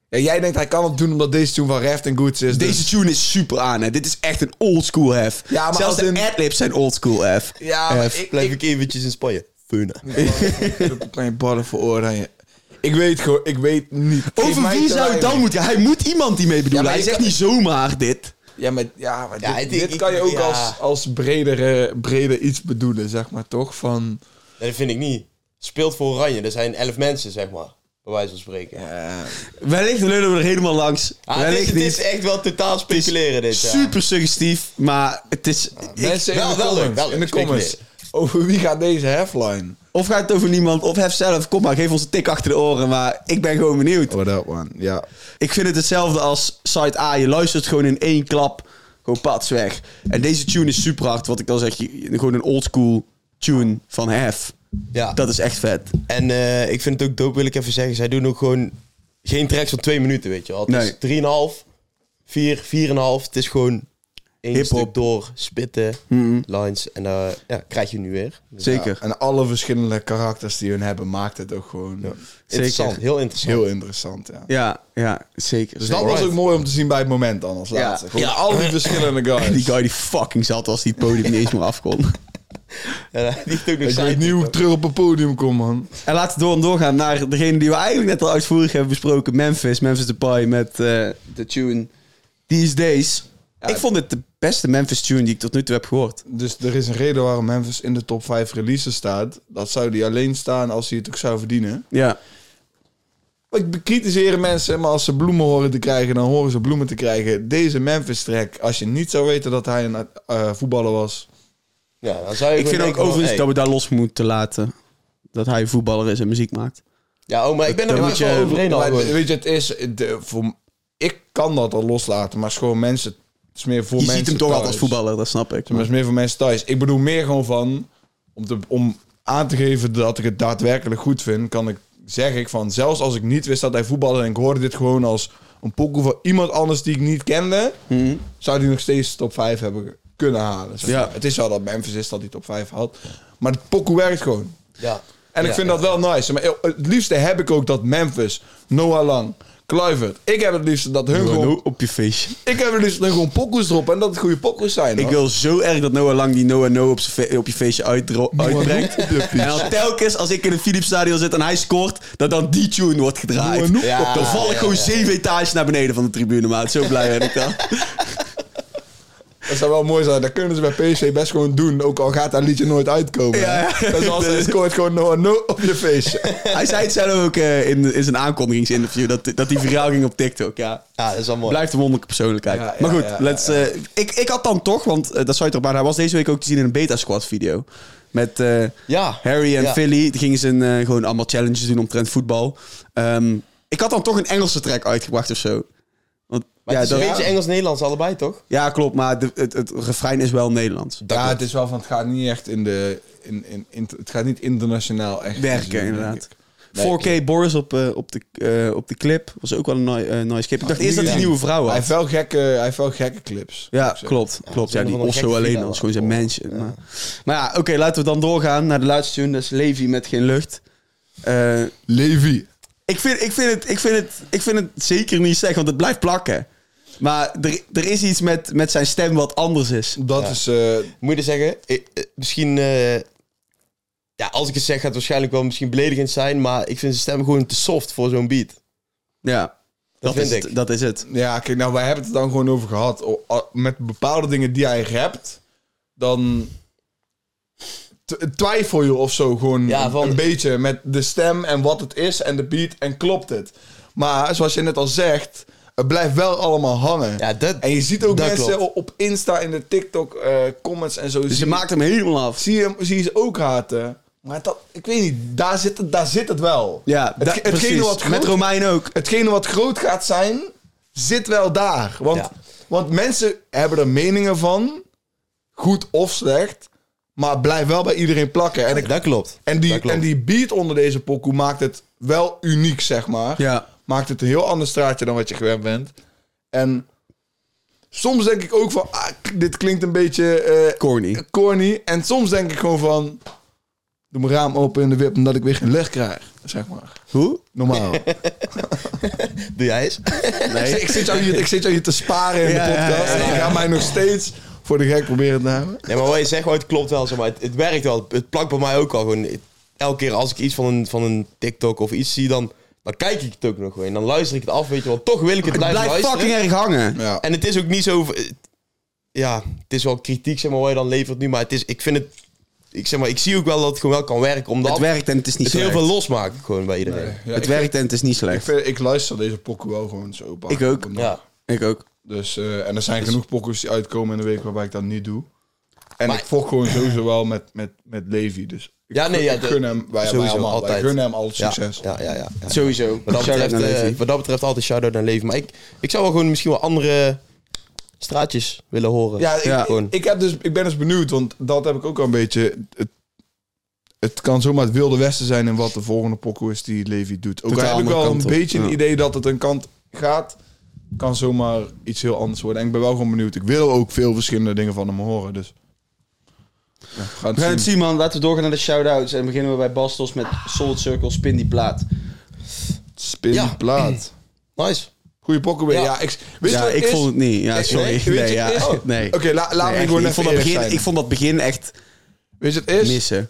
Speaker 2: Ja, jij denkt hij kan het doen omdat deze tune van Reft en Goods is.
Speaker 1: Deze
Speaker 2: dus-
Speaker 1: tune is super aan, hè. Dit is echt een oldschool hef.
Speaker 2: Ja, maar
Speaker 1: Zelfs
Speaker 2: als in-
Speaker 1: de adlibs zijn oldschool hef.
Speaker 2: ja, maar
Speaker 1: Hef.
Speaker 2: Eh, ik,
Speaker 3: Blijf ik eventjes in Spanje. Funa.
Speaker 2: Een klein ballen voor oranje. Ik weet gewoon, ik weet niet. Geef
Speaker 1: Over
Speaker 2: mij
Speaker 1: wie
Speaker 2: te
Speaker 1: zou het dan
Speaker 2: weinig.
Speaker 1: moeten? Hij moet iemand die mee bedoelen.
Speaker 2: maar
Speaker 1: hij
Speaker 2: je
Speaker 1: zegt
Speaker 2: kan-
Speaker 1: niet zomaar dit.
Speaker 2: Ja, maar, ja, maar
Speaker 3: Ja,
Speaker 2: dit,
Speaker 3: ik denk-
Speaker 2: dit kan je
Speaker 3: ik-
Speaker 2: ook
Speaker 3: ja.
Speaker 2: als, als bredere, breder iets bedoelen, zeg maar, toch? Van,
Speaker 3: Nee, dat vind ik niet. Speelt voor Oranje. Er zijn elf mensen, zeg maar. Bij wijze van spreken. Ja,
Speaker 1: Wellicht lullen we er helemaal langs.
Speaker 2: Ah,
Speaker 3: het, is,
Speaker 1: Wellicht
Speaker 3: het is
Speaker 1: niet.
Speaker 3: echt wel totaal speculeren, dit. ja.
Speaker 1: Super suggestief, maar het is... ik-
Speaker 2: mensen
Speaker 3: wel-
Speaker 2: in de
Speaker 3: wel leuk,
Speaker 2: comments,
Speaker 3: wel leuk,
Speaker 2: in de comments. Over wie gaat deze hefline?
Speaker 1: of gaat het over niemand, of hef zelf. Kom maar, geef ons een tik achter de oren, maar ik ben gewoon benieuwd.
Speaker 2: What up, man? Ja.
Speaker 1: Ik vind het hetzelfde als site A. Je luistert gewoon in één klap. Gewoon pats weg. En deze tune is super hard. Wat ik al zeg, je- gewoon een oldschool tune van Hef.
Speaker 3: Ja.
Speaker 1: Dat is echt vet.
Speaker 3: En eh, ik vind het ook dope, wil ik even zeggen. Zij doen ook gewoon geen tracks van twee minuten, weet je wel. Het
Speaker 1: Nee.
Speaker 3: is drieënhalf, vier, vierënhalf. Het is gewoon één
Speaker 1: Hip-hop. Mm-hmm.
Speaker 3: stuk door, spitten, lines. En eh ja, krijg je nu weer. Dus
Speaker 1: Zeker.
Speaker 2: En alle verschillende karakters die hun hebben, maakt het ook gewoon
Speaker 3: Interessant,
Speaker 1: Zeker.
Speaker 3: heel interessant.
Speaker 2: heel interessant, ja.
Speaker 1: Ja, ja, zeker.
Speaker 2: Dus dat
Speaker 1: zeker.
Speaker 2: was ook mooi om te zien bij het moment dan, als laatste. Gewoon al [LAUGHS] die verschillende guys.
Speaker 1: Die guy die fucking zat was die het podium niet eens meer af kon.
Speaker 3: Ja, die heeft ook nog
Speaker 2: Ik weet
Speaker 3: sidekick
Speaker 2: niet hoe
Speaker 3: ook.
Speaker 2: ik terug op het podium kom, man.
Speaker 1: En laten we door en doorgaan naar degene die we eigenlijk net al uitvoerig hebben besproken. Memphis, Memphis Depay met eh, de tune These Days. ik vond het de beste Memphis tune die ik tot nu toe heb gehoord.
Speaker 2: Dus er is een reden waarom Memphis in de top 5 releases staat. Dat zou die alleen staan als hij het ook zou verdienen.
Speaker 1: Ja.
Speaker 2: Ik bekritiseren mensen, maar als ze bloemen horen te krijgen, dan horen ze bloemen te krijgen. Deze Memphis-track, als je niet zou weten dat hij een eh, voetballer was.
Speaker 3: Ja, dan zou je
Speaker 1: Ik vind ook
Speaker 3: gewoon denken van,
Speaker 1: overigens
Speaker 3: hey.
Speaker 1: dat we daar los moeten laten. Dat hij voetballer is en muziek maakt.
Speaker 3: Ja, oh, maar ik ben er
Speaker 1: Dan
Speaker 3: wel
Speaker 1: moet je-
Speaker 3: wel overheen al
Speaker 2: Maar
Speaker 3: gewoon.
Speaker 2: weet je, het is... de- voor, ik kan dat al loslaten, maar het is gewoon mensen... Het is meer voor
Speaker 1: Je
Speaker 2: mensen
Speaker 1: ziet hem toch altijd
Speaker 2: thuis.
Speaker 1: als voetballer, dat snap ik.
Speaker 2: Maar het is meer voor mensen thuis. Ik bedoel meer gewoon van... Om, te, om aan te geven dat ik het daadwerkelijk goed vind... kan ik, zeg ik van... Zelfs als ik niet wist dat hij voetbalde... en ik hoorde dit gewoon als een pokoe van iemand anders die ik niet kende... zou die nog steeds top 5 hebben kunnen halen. zeg
Speaker 1: Mhm. Ja.
Speaker 2: maar. Het is wel dat Memphis is dat hij top 5 had. Maar de pokoe werkt gewoon.
Speaker 3: Ja.
Speaker 2: En ik
Speaker 3: Ja,
Speaker 2: vind
Speaker 3: ja.
Speaker 2: dat wel nice. Maar het liefste heb ik ook dat Memphis, Noah Lang, Kluivert... Ik heb het liefste dat hun
Speaker 1: Gewoon
Speaker 2: gewoon...
Speaker 1: op je feestje.
Speaker 2: Ik heb het liefst dat hun gewoon pokoes droppen en dat het goede pokoes zijn.
Speaker 1: Ik
Speaker 2: hoor.
Speaker 1: wil zo erg dat Noah Lang die Noah No op, z'n fe- op je feestje uitdro- uitbrengt. En dan telkens als ik in het Philips Stadion zit en hij scoort, dat dan die tune wordt gedraaid.
Speaker 2: Noah
Speaker 3: Ja,
Speaker 1: dan val ik
Speaker 3: ja,
Speaker 1: gewoon
Speaker 3: ja.
Speaker 1: zeven etages naar beneden van de tribune, maat. Zo blij ben ik dan.
Speaker 2: Dat zou wel mooi zijn. Dat kunnen ze bij PSV best gewoon doen. Ook al gaat dat liedje nooit uitkomen.
Speaker 1: Ja, ja.
Speaker 2: Dat
Speaker 1: [LAUGHS]
Speaker 2: is als je scoort gewoon no, no op je feestje.
Speaker 1: Hij zei het zelf ook eh, in, in zijn aankondigingsinterview, dat, dat die viraal ging op TikTok, ja.
Speaker 3: Ja, dat is wel mooi.
Speaker 1: Blijft een wonderlijke persoonlijkheid.
Speaker 2: Ja, ja,
Speaker 1: maar goed,
Speaker 2: ja,
Speaker 1: let's, eh, ik, ik had dan toch, want eh, dat zou je toch bijna... Hij was deze week ook te zien in een beta-squad-video. Met eh,
Speaker 3: Ja.
Speaker 1: Harry en
Speaker 3: Ja.
Speaker 1: Philly. Die gingen ze een, eh, gewoon allemaal challenges doen omtrent voetbal. Ehm, ik had dan toch een Engelse track uitgebracht of zo. Want,
Speaker 3: Maar
Speaker 1: ja,
Speaker 3: het is een
Speaker 1: dat-
Speaker 3: beetje Engels-Nederlands allebei, toch?
Speaker 1: ja, klopt, maar de- het, het refrein is wel Nederlands.
Speaker 2: ja, het is wel van... Het gaat niet echt in de... In, in, in- het gaat niet internationaal echt.
Speaker 1: werken,
Speaker 2: Denk ik.
Speaker 1: inderdaad. 4K Boris op, eh, op, de, eh, op de clip was ook wel een nice, eh, nice clip. Ik dacht eerst dat hij een nieuwe vrouw
Speaker 2: Hij
Speaker 1: had.
Speaker 2: heeft wel gekke, hij heeft wel gekke clips.
Speaker 1: Ja, klopt. klopt.
Speaker 3: dat
Speaker 1: Ja,
Speaker 3: is
Speaker 1: die
Speaker 3: een of andere
Speaker 1: Osso
Speaker 3: gekke
Speaker 1: alleen
Speaker 3: villa
Speaker 1: al. is gewoon zijn
Speaker 3: daar.
Speaker 1: mansion. Maar, maar ja, oké, laten we dan doorgaan naar de laatste tune. Dat is Levi met geen lucht. Eh,
Speaker 2: Levi.
Speaker 1: ik, vind, ik, vind het, ik, vind het, ik vind het zeker niet slecht, want het blijft plakken. Maar er, er is iets met, met zijn stem wat anders is.
Speaker 2: Dat is... eh,
Speaker 3: Moet je dus zeggen, eh, eh, misschien... eh, ja, als ik het zeg, gaat het waarschijnlijk wel misschien beledigend zijn, maar ik vind zijn stem gewoon te soft voor zo'n beat.
Speaker 1: Ja,
Speaker 3: Dat vind
Speaker 1: is het-
Speaker 3: ik.
Speaker 1: dat is het.
Speaker 2: ja, kijk, nou, wij hebben het er dan gewoon over gehad. O- a- Met bepaalde dingen die hij rapt, dan t- twijfel je of zo gewoon
Speaker 3: Ja, van-
Speaker 2: een beetje met de stem en wat het is en de beat en klopt het. Maar zoals je net al zegt, het blijft wel allemaal hangen.
Speaker 3: Ja, dat,
Speaker 2: en je ziet ook
Speaker 3: dat
Speaker 2: mensen
Speaker 3: klopt.
Speaker 2: op Insta en de TikTok eh, comments en zo.
Speaker 1: Dus je
Speaker 2: zie,
Speaker 1: maakt hem helemaal af.
Speaker 2: zie, je, zie je ze ook haten. Maar dat, ik weet niet, daar zit het, daar zit het wel.
Speaker 1: Ja,
Speaker 2: het,
Speaker 1: da-
Speaker 2: hetgene
Speaker 1: precies.
Speaker 2: wat
Speaker 1: Met
Speaker 2: groot-
Speaker 1: Romein ook.
Speaker 2: hetgene wat groot gaat zijn, zit wel daar. Want,
Speaker 3: Ja.
Speaker 2: want mensen hebben er meningen van, goed of slecht, maar blijf wel bij iedereen plakken. En, ik,
Speaker 3: Dat klopt.
Speaker 2: en,
Speaker 3: dat
Speaker 2: die,
Speaker 3: klopt.
Speaker 2: en die beat onder deze pokoe maakt het wel uniek, zeg maar.
Speaker 1: Ja.
Speaker 2: Maakt het een heel ander straatje dan wat je gewend bent. En soms denk ik ook van, ah, k- dit klinkt een beetje eh,
Speaker 1: Corny.
Speaker 2: corny. En soms denk ik gewoon van, doe mijn raam open in de wip omdat ik weer geen lucht krijg, zeg maar.
Speaker 1: Hoe?
Speaker 2: Normaal.
Speaker 3: Doe jij eens?
Speaker 2: Ik, ik zit jou hier, ik zit jou hier te sparen in
Speaker 1: Ja,
Speaker 2: de podcast.
Speaker 1: ja, ja, ja.
Speaker 2: Ik ga mij nog steeds voor de gek proberen te houden.
Speaker 3: [LAUGHS] Nee, maar wat je zegt, maar het klopt wel. Zeg maar. het, het werkt wel. Het plakt bij mij ook al gewoon. Het- Elke keer als ik iets van een, van een TikTok of iets zie, dan, dan kijk ik het ook nog gewoon. Dan luister ik het af, weet je wel. Toch wil ik het,
Speaker 1: Het
Speaker 3: blijven
Speaker 1: blijft
Speaker 3: luisteren.
Speaker 1: fucking erg hangen.
Speaker 2: Ja.
Speaker 3: En het is ook niet zo... eh, Ja, het is wel kritiek, zeg maar, wat je dan levert nu. Maar het is, ik vind het... Ik zeg maar, ik zie ook wel dat het gewoon wel kan werken. Omdat
Speaker 1: Het werkt en het is niet
Speaker 3: het heel
Speaker 1: slecht.
Speaker 3: veel losmaakt gewoon bij iedereen.
Speaker 2: Ja,
Speaker 1: het
Speaker 2: ik,
Speaker 1: werkt en het is niet
Speaker 2: ik,
Speaker 1: slecht.
Speaker 2: vind, ik luister deze pokken wel gewoon zo. vaak.
Speaker 1: Ik ook.
Speaker 3: Ja.
Speaker 1: Ik ook.
Speaker 2: Dus, eh, en er zijn genoeg pokkers die uitkomen in de week waarbij ik dat niet doe. En
Speaker 3: Maar-
Speaker 2: ik vocht gewoon sowieso wel met, met, met Levi. Dus ik
Speaker 3: Ja, nee,
Speaker 2: gun-
Speaker 3: ja,
Speaker 2: ik
Speaker 3: de-
Speaker 2: gun hem, wij, wij
Speaker 3: sowieso,
Speaker 2: allemaal, wij
Speaker 3: altijd.
Speaker 2: gunnen hem al het
Speaker 3: Ja,
Speaker 2: succes.
Speaker 3: Ja, ja, ja. ja.
Speaker 1: Sowieso.
Speaker 3: Wat dat, betreft, eh, wat dat betreft altijd shout-out aan Leven. Maar ik, ik zou wel gewoon misschien wel andere straatjes willen horen.
Speaker 2: Ja, ik,
Speaker 1: Ja.
Speaker 3: Gewoon.
Speaker 2: Ik, ik heb dus, ik ben dus benieuwd, want dat heb ik ook al een beetje. Het, het kan zomaar het wilde westen zijn in wat de volgende pokoe is die Levi doet. Ook
Speaker 1: Totaal
Speaker 2: al heb ik
Speaker 1: andere
Speaker 2: wel een
Speaker 1: kant op,
Speaker 2: beetje een
Speaker 1: ja.
Speaker 2: idee dat het een kant gaat. Kan zomaar iets heel anders worden. En ik ben wel gewoon benieuwd. Ik wil ook veel verschillende dingen van hem horen. Dus. Ja, we gaan
Speaker 1: We gaan
Speaker 2: het
Speaker 1: het
Speaker 2: zien.
Speaker 1: zien, man. Laten we doorgaan naar de shout-outs. En beginnen we bij Bastos met Solid Circle, Spin die plaat.
Speaker 2: Spin
Speaker 3: Ja.
Speaker 2: plaat.
Speaker 3: Nice.
Speaker 2: Goeie pokoe weer.
Speaker 3: Ja.
Speaker 2: Ja, ik, weet je
Speaker 1: ja,
Speaker 2: wat
Speaker 1: ik
Speaker 2: is?
Speaker 1: vond het niet. Ja,
Speaker 2: Nee,
Speaker 1: sorry.
Speaker 2: nee,
Speaker 1: Nee,
Speaker 2: weet je,
Speaker 1: ja,
Speaker 2: is- oh.
Speaker 1: nee.
Speaker 2: Oké, la- laat
Speaker 1: Nee,
Speaker 2: me
Speaker 1: echt
Speaker 2: gewoon
Speaker 1: niet.
Speaker 2: even
Speaker 1: ik vond, dat
Speaker 2: eerlijk
Speaker 1: begin,
Speaker 2: zijn.
Speaker 1: ik vond dat begin echt
Speaker 2: Weet je wat het is?
Speaker 1: missen.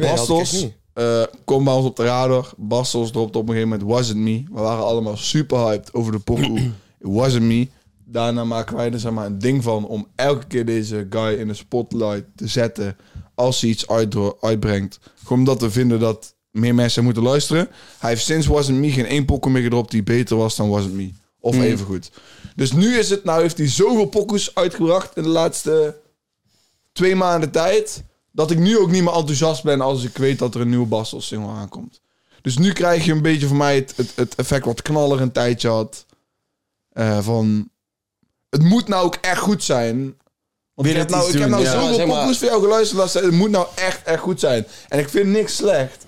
Speaker 2: Bastos, eh, kom bij ons op de radar. Bastos dropt op een gegeven moment Was It Me. We waren allemaal super hyped over de pokoe It Wasn't Me. daarna maken wij er zeg maar, een ding van om elke keer deze guy in de spotlight te zetten als hij iets uitdro- uitbrengt. Gewoon omdat we vinden dat meer mensen moeten luisteren. Hij heeft sinds Wasn't Me geen één pokoe meer gedropt die beter was dan Wasn't Me. Of even goed. Dus nu is het, nou heeft hij zoveel pokoes uitgebracht in de laatste twee maanden tijd. Dat ik nu ook niet meer enthousiast ben als ik weet dat er een nieuwe Bastel single aankomt. Dus nu krijg je een beetje van mij het, het, het effect wat knaller een tijdje had. eh, van het moet nou ook echt goed zijn. Want ik
Speaker 1: Wil
Speaker 2: heb
Speaker 1: het
Speaker 2: nou,
Speaker 1: iets
Speaker 2: ik heb
Speaker 1: doen,
Speaker 2: nou
Speaker 1: ja.
Speaker 2: zoveel
Speaker 3: Zeg maar-
Speaker 2: pokoes voor jou geluisterd. laatst. Het moet nou echt, echt goed zijn. En ik vind niks slecht.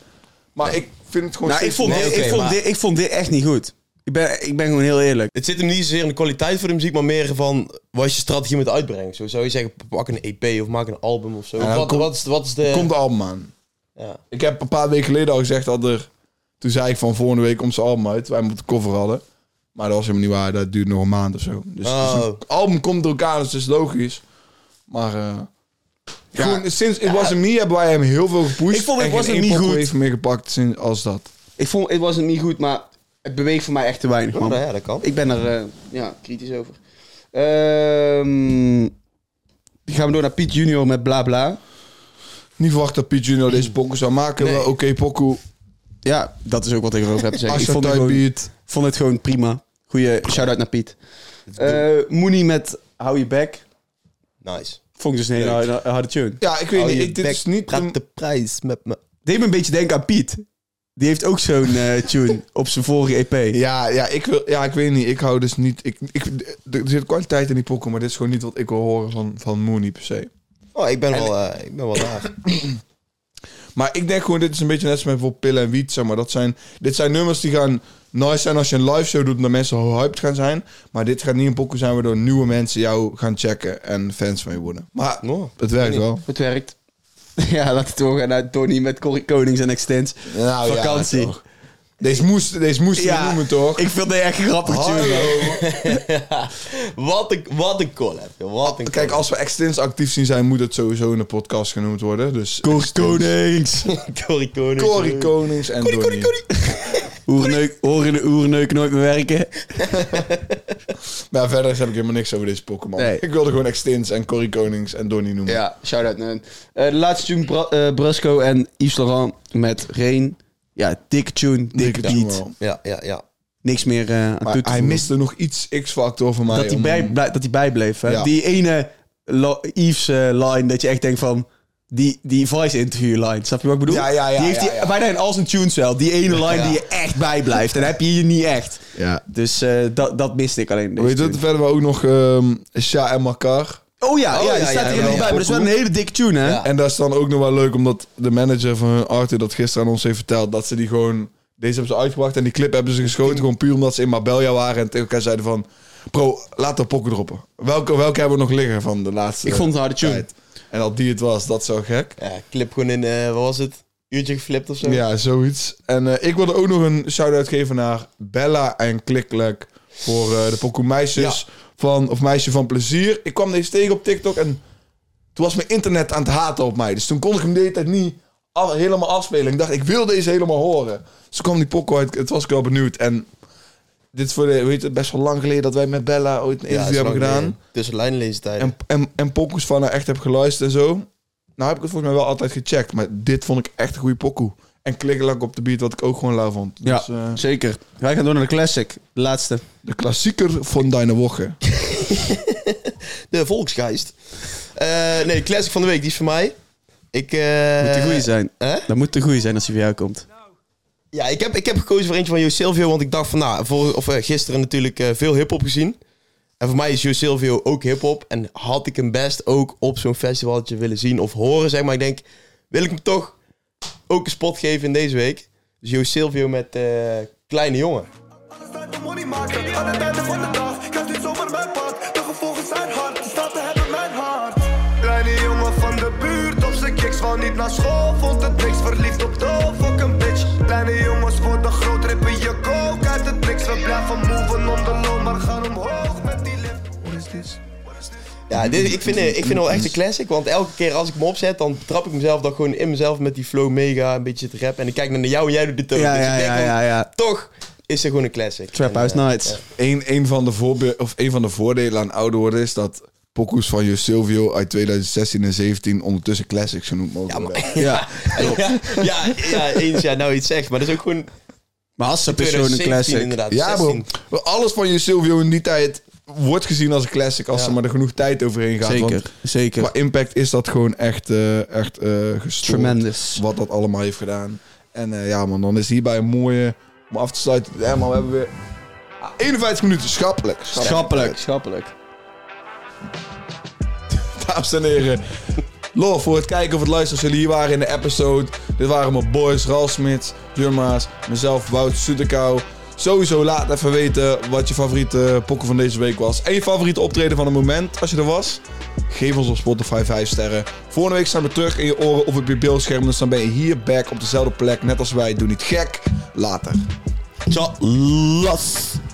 Speaker 2: Maar ik vind het gewoon
Speaker 1: Nou, ik
Speaker 2: steeds
Speaker 1: vond,
Speaker 3: Nee,
Speaker 1: dit,
Speaker 3: oké,
Speaker 1: ik, vond
Speaker 3: maar-
Speaker 1: dit, ik vond dit echt niet goed. Ik ben, ik ben gewoon heel eerlijk.
Speaker 3: Het zit hem niet zozeer in de kwaliteit van de muziek, maar meer van wat is je strategie met uitbrengen. Zo zou je zeggen, pak een EP of maak een album of zo.
Speaker 2: Ja,
Speaker 3: wat,
Speaker 2: kom-
Speaker 3: wat, is, wat is de...
Speaker 2: Komt de album aan.
Speaker 3: Ja.
Speaker 2: Ik heb een paar weken geleden al gezegd dat er... Toen zei ik van volgende week komt zijn album uit. Wij moeten de cover hadden. Maar dat was helemaal niet waar. Dat duurt nog een maand of zo. Dus,
Speaker 3: Oh.
Speaker 2: dus een album komt door elkaar. Dus dat is logisch. Maar eh, gewoon, sinds It Was Me hebben wij hem heel veel gepusht.
Speaker 1: Ik vond It
Speaker 2: en geen
Speaker 1: Wasn't
Speaker 2: één
Speaker 1: Me
Speaker 2: pokoe
Speaker 1: goed.
Speaker 2: heeft meer gepakt sinds, als dat.
Speaker 1: Ik vond, het was niet goed, maar het beweegt voor mij echt te weinig,
Speaker 3: Oh,
Speaker 1: man.
Speaker 3: nou ja, dat kan.
Speaker 1: Ik ben er eh, ja, kritisch over. Ehm, dan gaan we door naar Piet Junior met bla bla.
Speaker 2: Niet verwacht dat Piet Junior deze pokoe zou maken.
Speaker 3: Nee.
Speaker 2: maar Oké, pokoe.
Speaker 1: Ja, dat is ook wat ik erover heb te zeggen. Ik
Speaker 2: Asha
Speaker 1: vond het,
Speaker 2: type
Speaker 1: gewoon,
Speaker 2: beat.
Speaker 1: vond het gewoon prima. Goeie shout-out naar Piet. Eh Mooney met Hou Je Back.
Speaker 3: Nice.
Speaker 1: Vond ik dus een hele
Speaker 3: Leuk.
Speaker 1: harde- harde tune.
Speaker 2: Ja, ik weet
Speaker 3: Hou
Speaker 2: niet.
Speaker 3: Oh, je
Speaker 2: Ik, dit
Speaker 3: bek,
Speaker 2: is niet...
Speaker 3: praat
Speaker 2: een-
Speaker 3: de prijs met me.
Speaker 1: Deed me een beetje denken aan Piet. Die heeft ook zo'n eh,
Speaker 2: [LAUGHS]
Speaker 1: tune op zijn vorige E EP.
Speaker 2: Ja, ja, ik wil, ja, ik weet niet. Ik hou dus niet. Ik, ik, er zit kwaliteit in die pokken, maar dit is gewoon niet wat ik wil horen van, van Mooney per se.
Speaker 3: Oh, ik ben, wel, eh, ik ben wel daar.
Speaker 2: Maar ik denk gewoon, dit is een beetje net als met bijvoorbeeld pillen en wiet. Zeg maar. dat zijn, dit zijn nummers die gaan nice zijn als je een live show doet, omdat mensen hyped gaan zijn. Maar dit gaat niet een pokken zijn waardoor nieuwe mensen jou gaan checken en fans van je worden. Maar
Speaker 3: [LAUGHS] Oh,
Speaker 2: het werkt
Speaker 3: weet
Speaker 2: wel.
Speaker 1: Het werkt. [LAUGHS] Ja, laten we doorgaan naar Tony met Corrie Konings en Extens.
Speaker 2: Nou, ja,
Speaker 1: Vakantie.
Speaker 2: toch. Deze moest, deze moest je noemen, toch?
Speaker 1: ik vind het echt een grappig tune. man.
Speaker 2: Hallo.
Speaker 3: wat, een, wat een collab. joh. Wat een
Speaker 2: Kijk, als we extens actief zien zijn, moet het sowieso in de podcast genoemd worden. Dus
Speaker 1: Corrie Konings.
Speaker 3: [LAUGHS] Cory Koning.
Speaker 2: Cory Konings en Donnie.
Speaker 1: Oerneuk, oeren- oerneuk nooit meer werken.
Speaker 2: Maar verder heb ik helemaal niks over deze Pokémon.
Speaker 1: Nee.
Speaker 2: Ik wilde gewoon Extins en Corrie Konings en Donnie noemen.
Speaker 1: Ja, shout-out naar hen. Eh, de laatste tune, Bra- eh, Brusco en Yves Laurent met Rain. Ja, dik tune, dikke
Speaker 2: Dikke tune
Speaker 1: beat.
Speaker 2: wel.
Speaker 3: Ja, ja, ja.
Speaker 1: Niks meer eh, aan
Speaker 2: Maar
Speaker 1: toe te
Speaker 2: hij
Speaker 1: voegen.
Speaker 2: miste nog iets X-factor van mij.
Speaker 1: dat, hij
Speaker 2: om-
Speaker 1: bij, blij- dat hij bijbleef. Hè?
Speaker 2: Ja.
Speaker 1: Die ene lo- Yves eh, line dat je echt denkt van... Die, die voice interview line, snap je wat ik bedoel?
Speaker 2: Ja, ja, ja,
Speaker 1: die heeft
Speaker 2: ja,
Speaker 1: die,
Speaker 2: ja.
Speaker 1: bijna in al zijn tunes wel. Die ene line die je echt bijblijft. En heb je hier niet echt.
Speaker 2: Ja.
Speaker 1: Dus eh, dat, dat miste ik alleen. in deze
Speaker 2: Weet je wat,
Speaker 1: tune.
Speaker 2: verder wel ook nog ehm Sha en Makar.
Speaker 1: Oh ja,
Speaker 3: Oh,
Speaker 1: ja, die
Speaker 3: ja,
Speaker 1: staat
Speaker 3: ja,
Speaker 1: er
Speaker 3: ja,
Speaker 1: helemaal
Speaker 3: ja.
Speaker 1: bij. Maar dat is wel een hele dikke tune, hè?
Speaker 3: Ja.
Speaker 2: En dat is dan ook nog wel leuk, omdat de manager van hun Arthur dat gisteren aan ons heeft verteld. Dat ze die gewoon... Deze hebben ze uitgebracht en die clip hebben ze geschoten. Gewoon puur omdat ze in Marbella waren en tegen elkaar zeiden van... Bro, laat de pokken droppen. Welke, welke hebben we nog liggen van de laatste
Speaker 1: Ik vond het een harde tune.
Speaker 2: tijd? En dat die het was, dat is wel gek.
Speaker 3: Ja, clip gewoon in, eh, wat was het? Uurtje geflipt of zo?
Speaker 2: Ja, zoiets. En eh, ik wilde ook nog een shout-out geven naar Bella en Klikklek voor eh, de pokoe Meisjes van, of Meisje van Plezier. Ik kwam deze tegen op TikTok en toen was mijn internet aan het haten op mij. Dus toen kon ik hem de hele tijd niet af- helemaal afspelen. Ik dacht, ik wil deze helemaal horen. Dus toen kwam die pokoe uit, het was ik wel benieuwd. En dit is voor de, weet je, best wel lang geleden dat wij met Bella ooit een
Speaker 3: Ja,
Speaker 2: interview
Speaker 3: is
Speaker 2: hebben
Speaker 3: lang
Speaker 2: gedaan.
Speaker 3: geleden. Tussen lijnlezen
Speaker 2: En, en, en pokoes van haar echt heb geluisterd en zo. Nou heb ik het volgens mij wel altijd gecheckt. Maar dit vond ik echt een goede pokoe. En klikkelak op de beat, wat ik ook gewoon lauw vond.
Speaker 1: Ja,
Speaker 2: Dus, eh,
Speaker 1: zeker. Wij gaan door naar de classic. De laatste.
Speaker 2: de klassieker van Deine Woche.
Speaker 3: De Volksgeist. Eh, nee, Classic van de Week, die is voor mij. Ik, eh,
Speaker 1: Moet de goeie zijn.
Speaker 3: hè?
Speaker 1: Dat moet de goeie zijn als hij voor jou komt.
Speaker 3: Ja, ik heb, ik heb gekozen voor eentje van Jo Silvio, want ik dacht van, nou, voor, of, eh, gisteren natuurlijk eh, veel hip-hop gezien. En voor mij is Jo Silvio ook hip-hop. En had ik hem best ook op zo'n festivaltje willen zien of horen, zeg maar. Ik denk, wil ik hem toch ook een spot geven in deze week? Dus Jo Silvio met eh, Kleine Jongen.
Speaker 5: Alles tijd om money maken, aan het einde van de dag. Kijk niet zomaar mijn pad, de gevolgen zijn hard. De staten hebben mijn hart. Kleine jongen van de buurt, op zijn kiks wou niet naar school. Vond het niks, verliefd op de fucking bitch. Kleine jongens voor de groot rippen je kook uit het niks. We blijven moven om de loon, maar gaan omhoog met die lift. What is this? What is this?
Speaker 3: Ja, dit, ik, vind, eh, ik vind hem wel echt een classic. Want elke keer als ik hem opzet, dan trap ik mezelf dan gewoon in mezelf met die flow mega. Een beetje te rap. En ik kijk naar jou en jij doet dit ook.
Speaker 1: Ja,
Speaker 3: Dus ik
Speaker 1: ja,
Speaker 3: denk
Speaker 1: ja,
Speaker 3: dan,
Speaker 1: ja, ja.
Speaker 3: Toch, is hij gewoon een classic.
Speaker 1: Trap
Speaker 3: En,
Speaker 1: House
Speaker 3: eh,
Speaker 1: Nights.
Speaker 3: ja.
Speaker 2: Een, een, van de voorbe- of een van de voordelen aan ouder worden is dat pokoes van Jo Silvio uit 2016 en 17 ondertussen classics genoemd mogen
Speaker 3: Ja,
Speaker 2: worden.
Speaker 3: maar, ja, ja, ja, ja, eens ja, nou iets zegt. Maar dat is ook gewoon
Speaker 1: Maar Hassap is
Speaker 3: [LAUGHS]
Speaker 1: gewoon een
Speaker 3: 2017
Speaker 1: classic.
Speaker 3: inderdaad.
Speaker 2: Ja, bro.
Speaker 3: 16.
Speaker 2: Maar Alles van Jo Silvio in die tijd wordt gezien als een classic als
Speaker 3: Ja.
Speaker 2: er maar er genoeg tijd overheen gaat. want
Speaker 1: Zeker, zeker.
Speaker 2: Qua impact is dat gewoon echt, eh echt eh gestoord.
Speaker 1: Tremendous.
Speaker 2: Wat dat allemaal heeft gedaan. En eh, ja man, dan is hierbij een mooie... Om af te sluiten. Ja man, we hebben weer... Ah, 51 minuten, schappelijk.
Speaker 1: Schappelijk, schappelijk.
Speaker 2: Dames en heren. Lof voor het kijken of het luisteren als jullie hier waren in de episode. Dit waren mijn boys, Ralf Smits, Jumma's, mezelf, Wout Soetekou. Sowieso laat even weten wat je favoriete pokken van deze week was. En je favoriete optreden van het moment, als je er was. Geef ons op Spotify 5 sterren. Volgende week staan we terug in je oren of op je beeldscherm. Dus dan ben je hier back op dezelfde plek, net als wij. Doe niet gek. Later.
Speaker 3: Tja, las.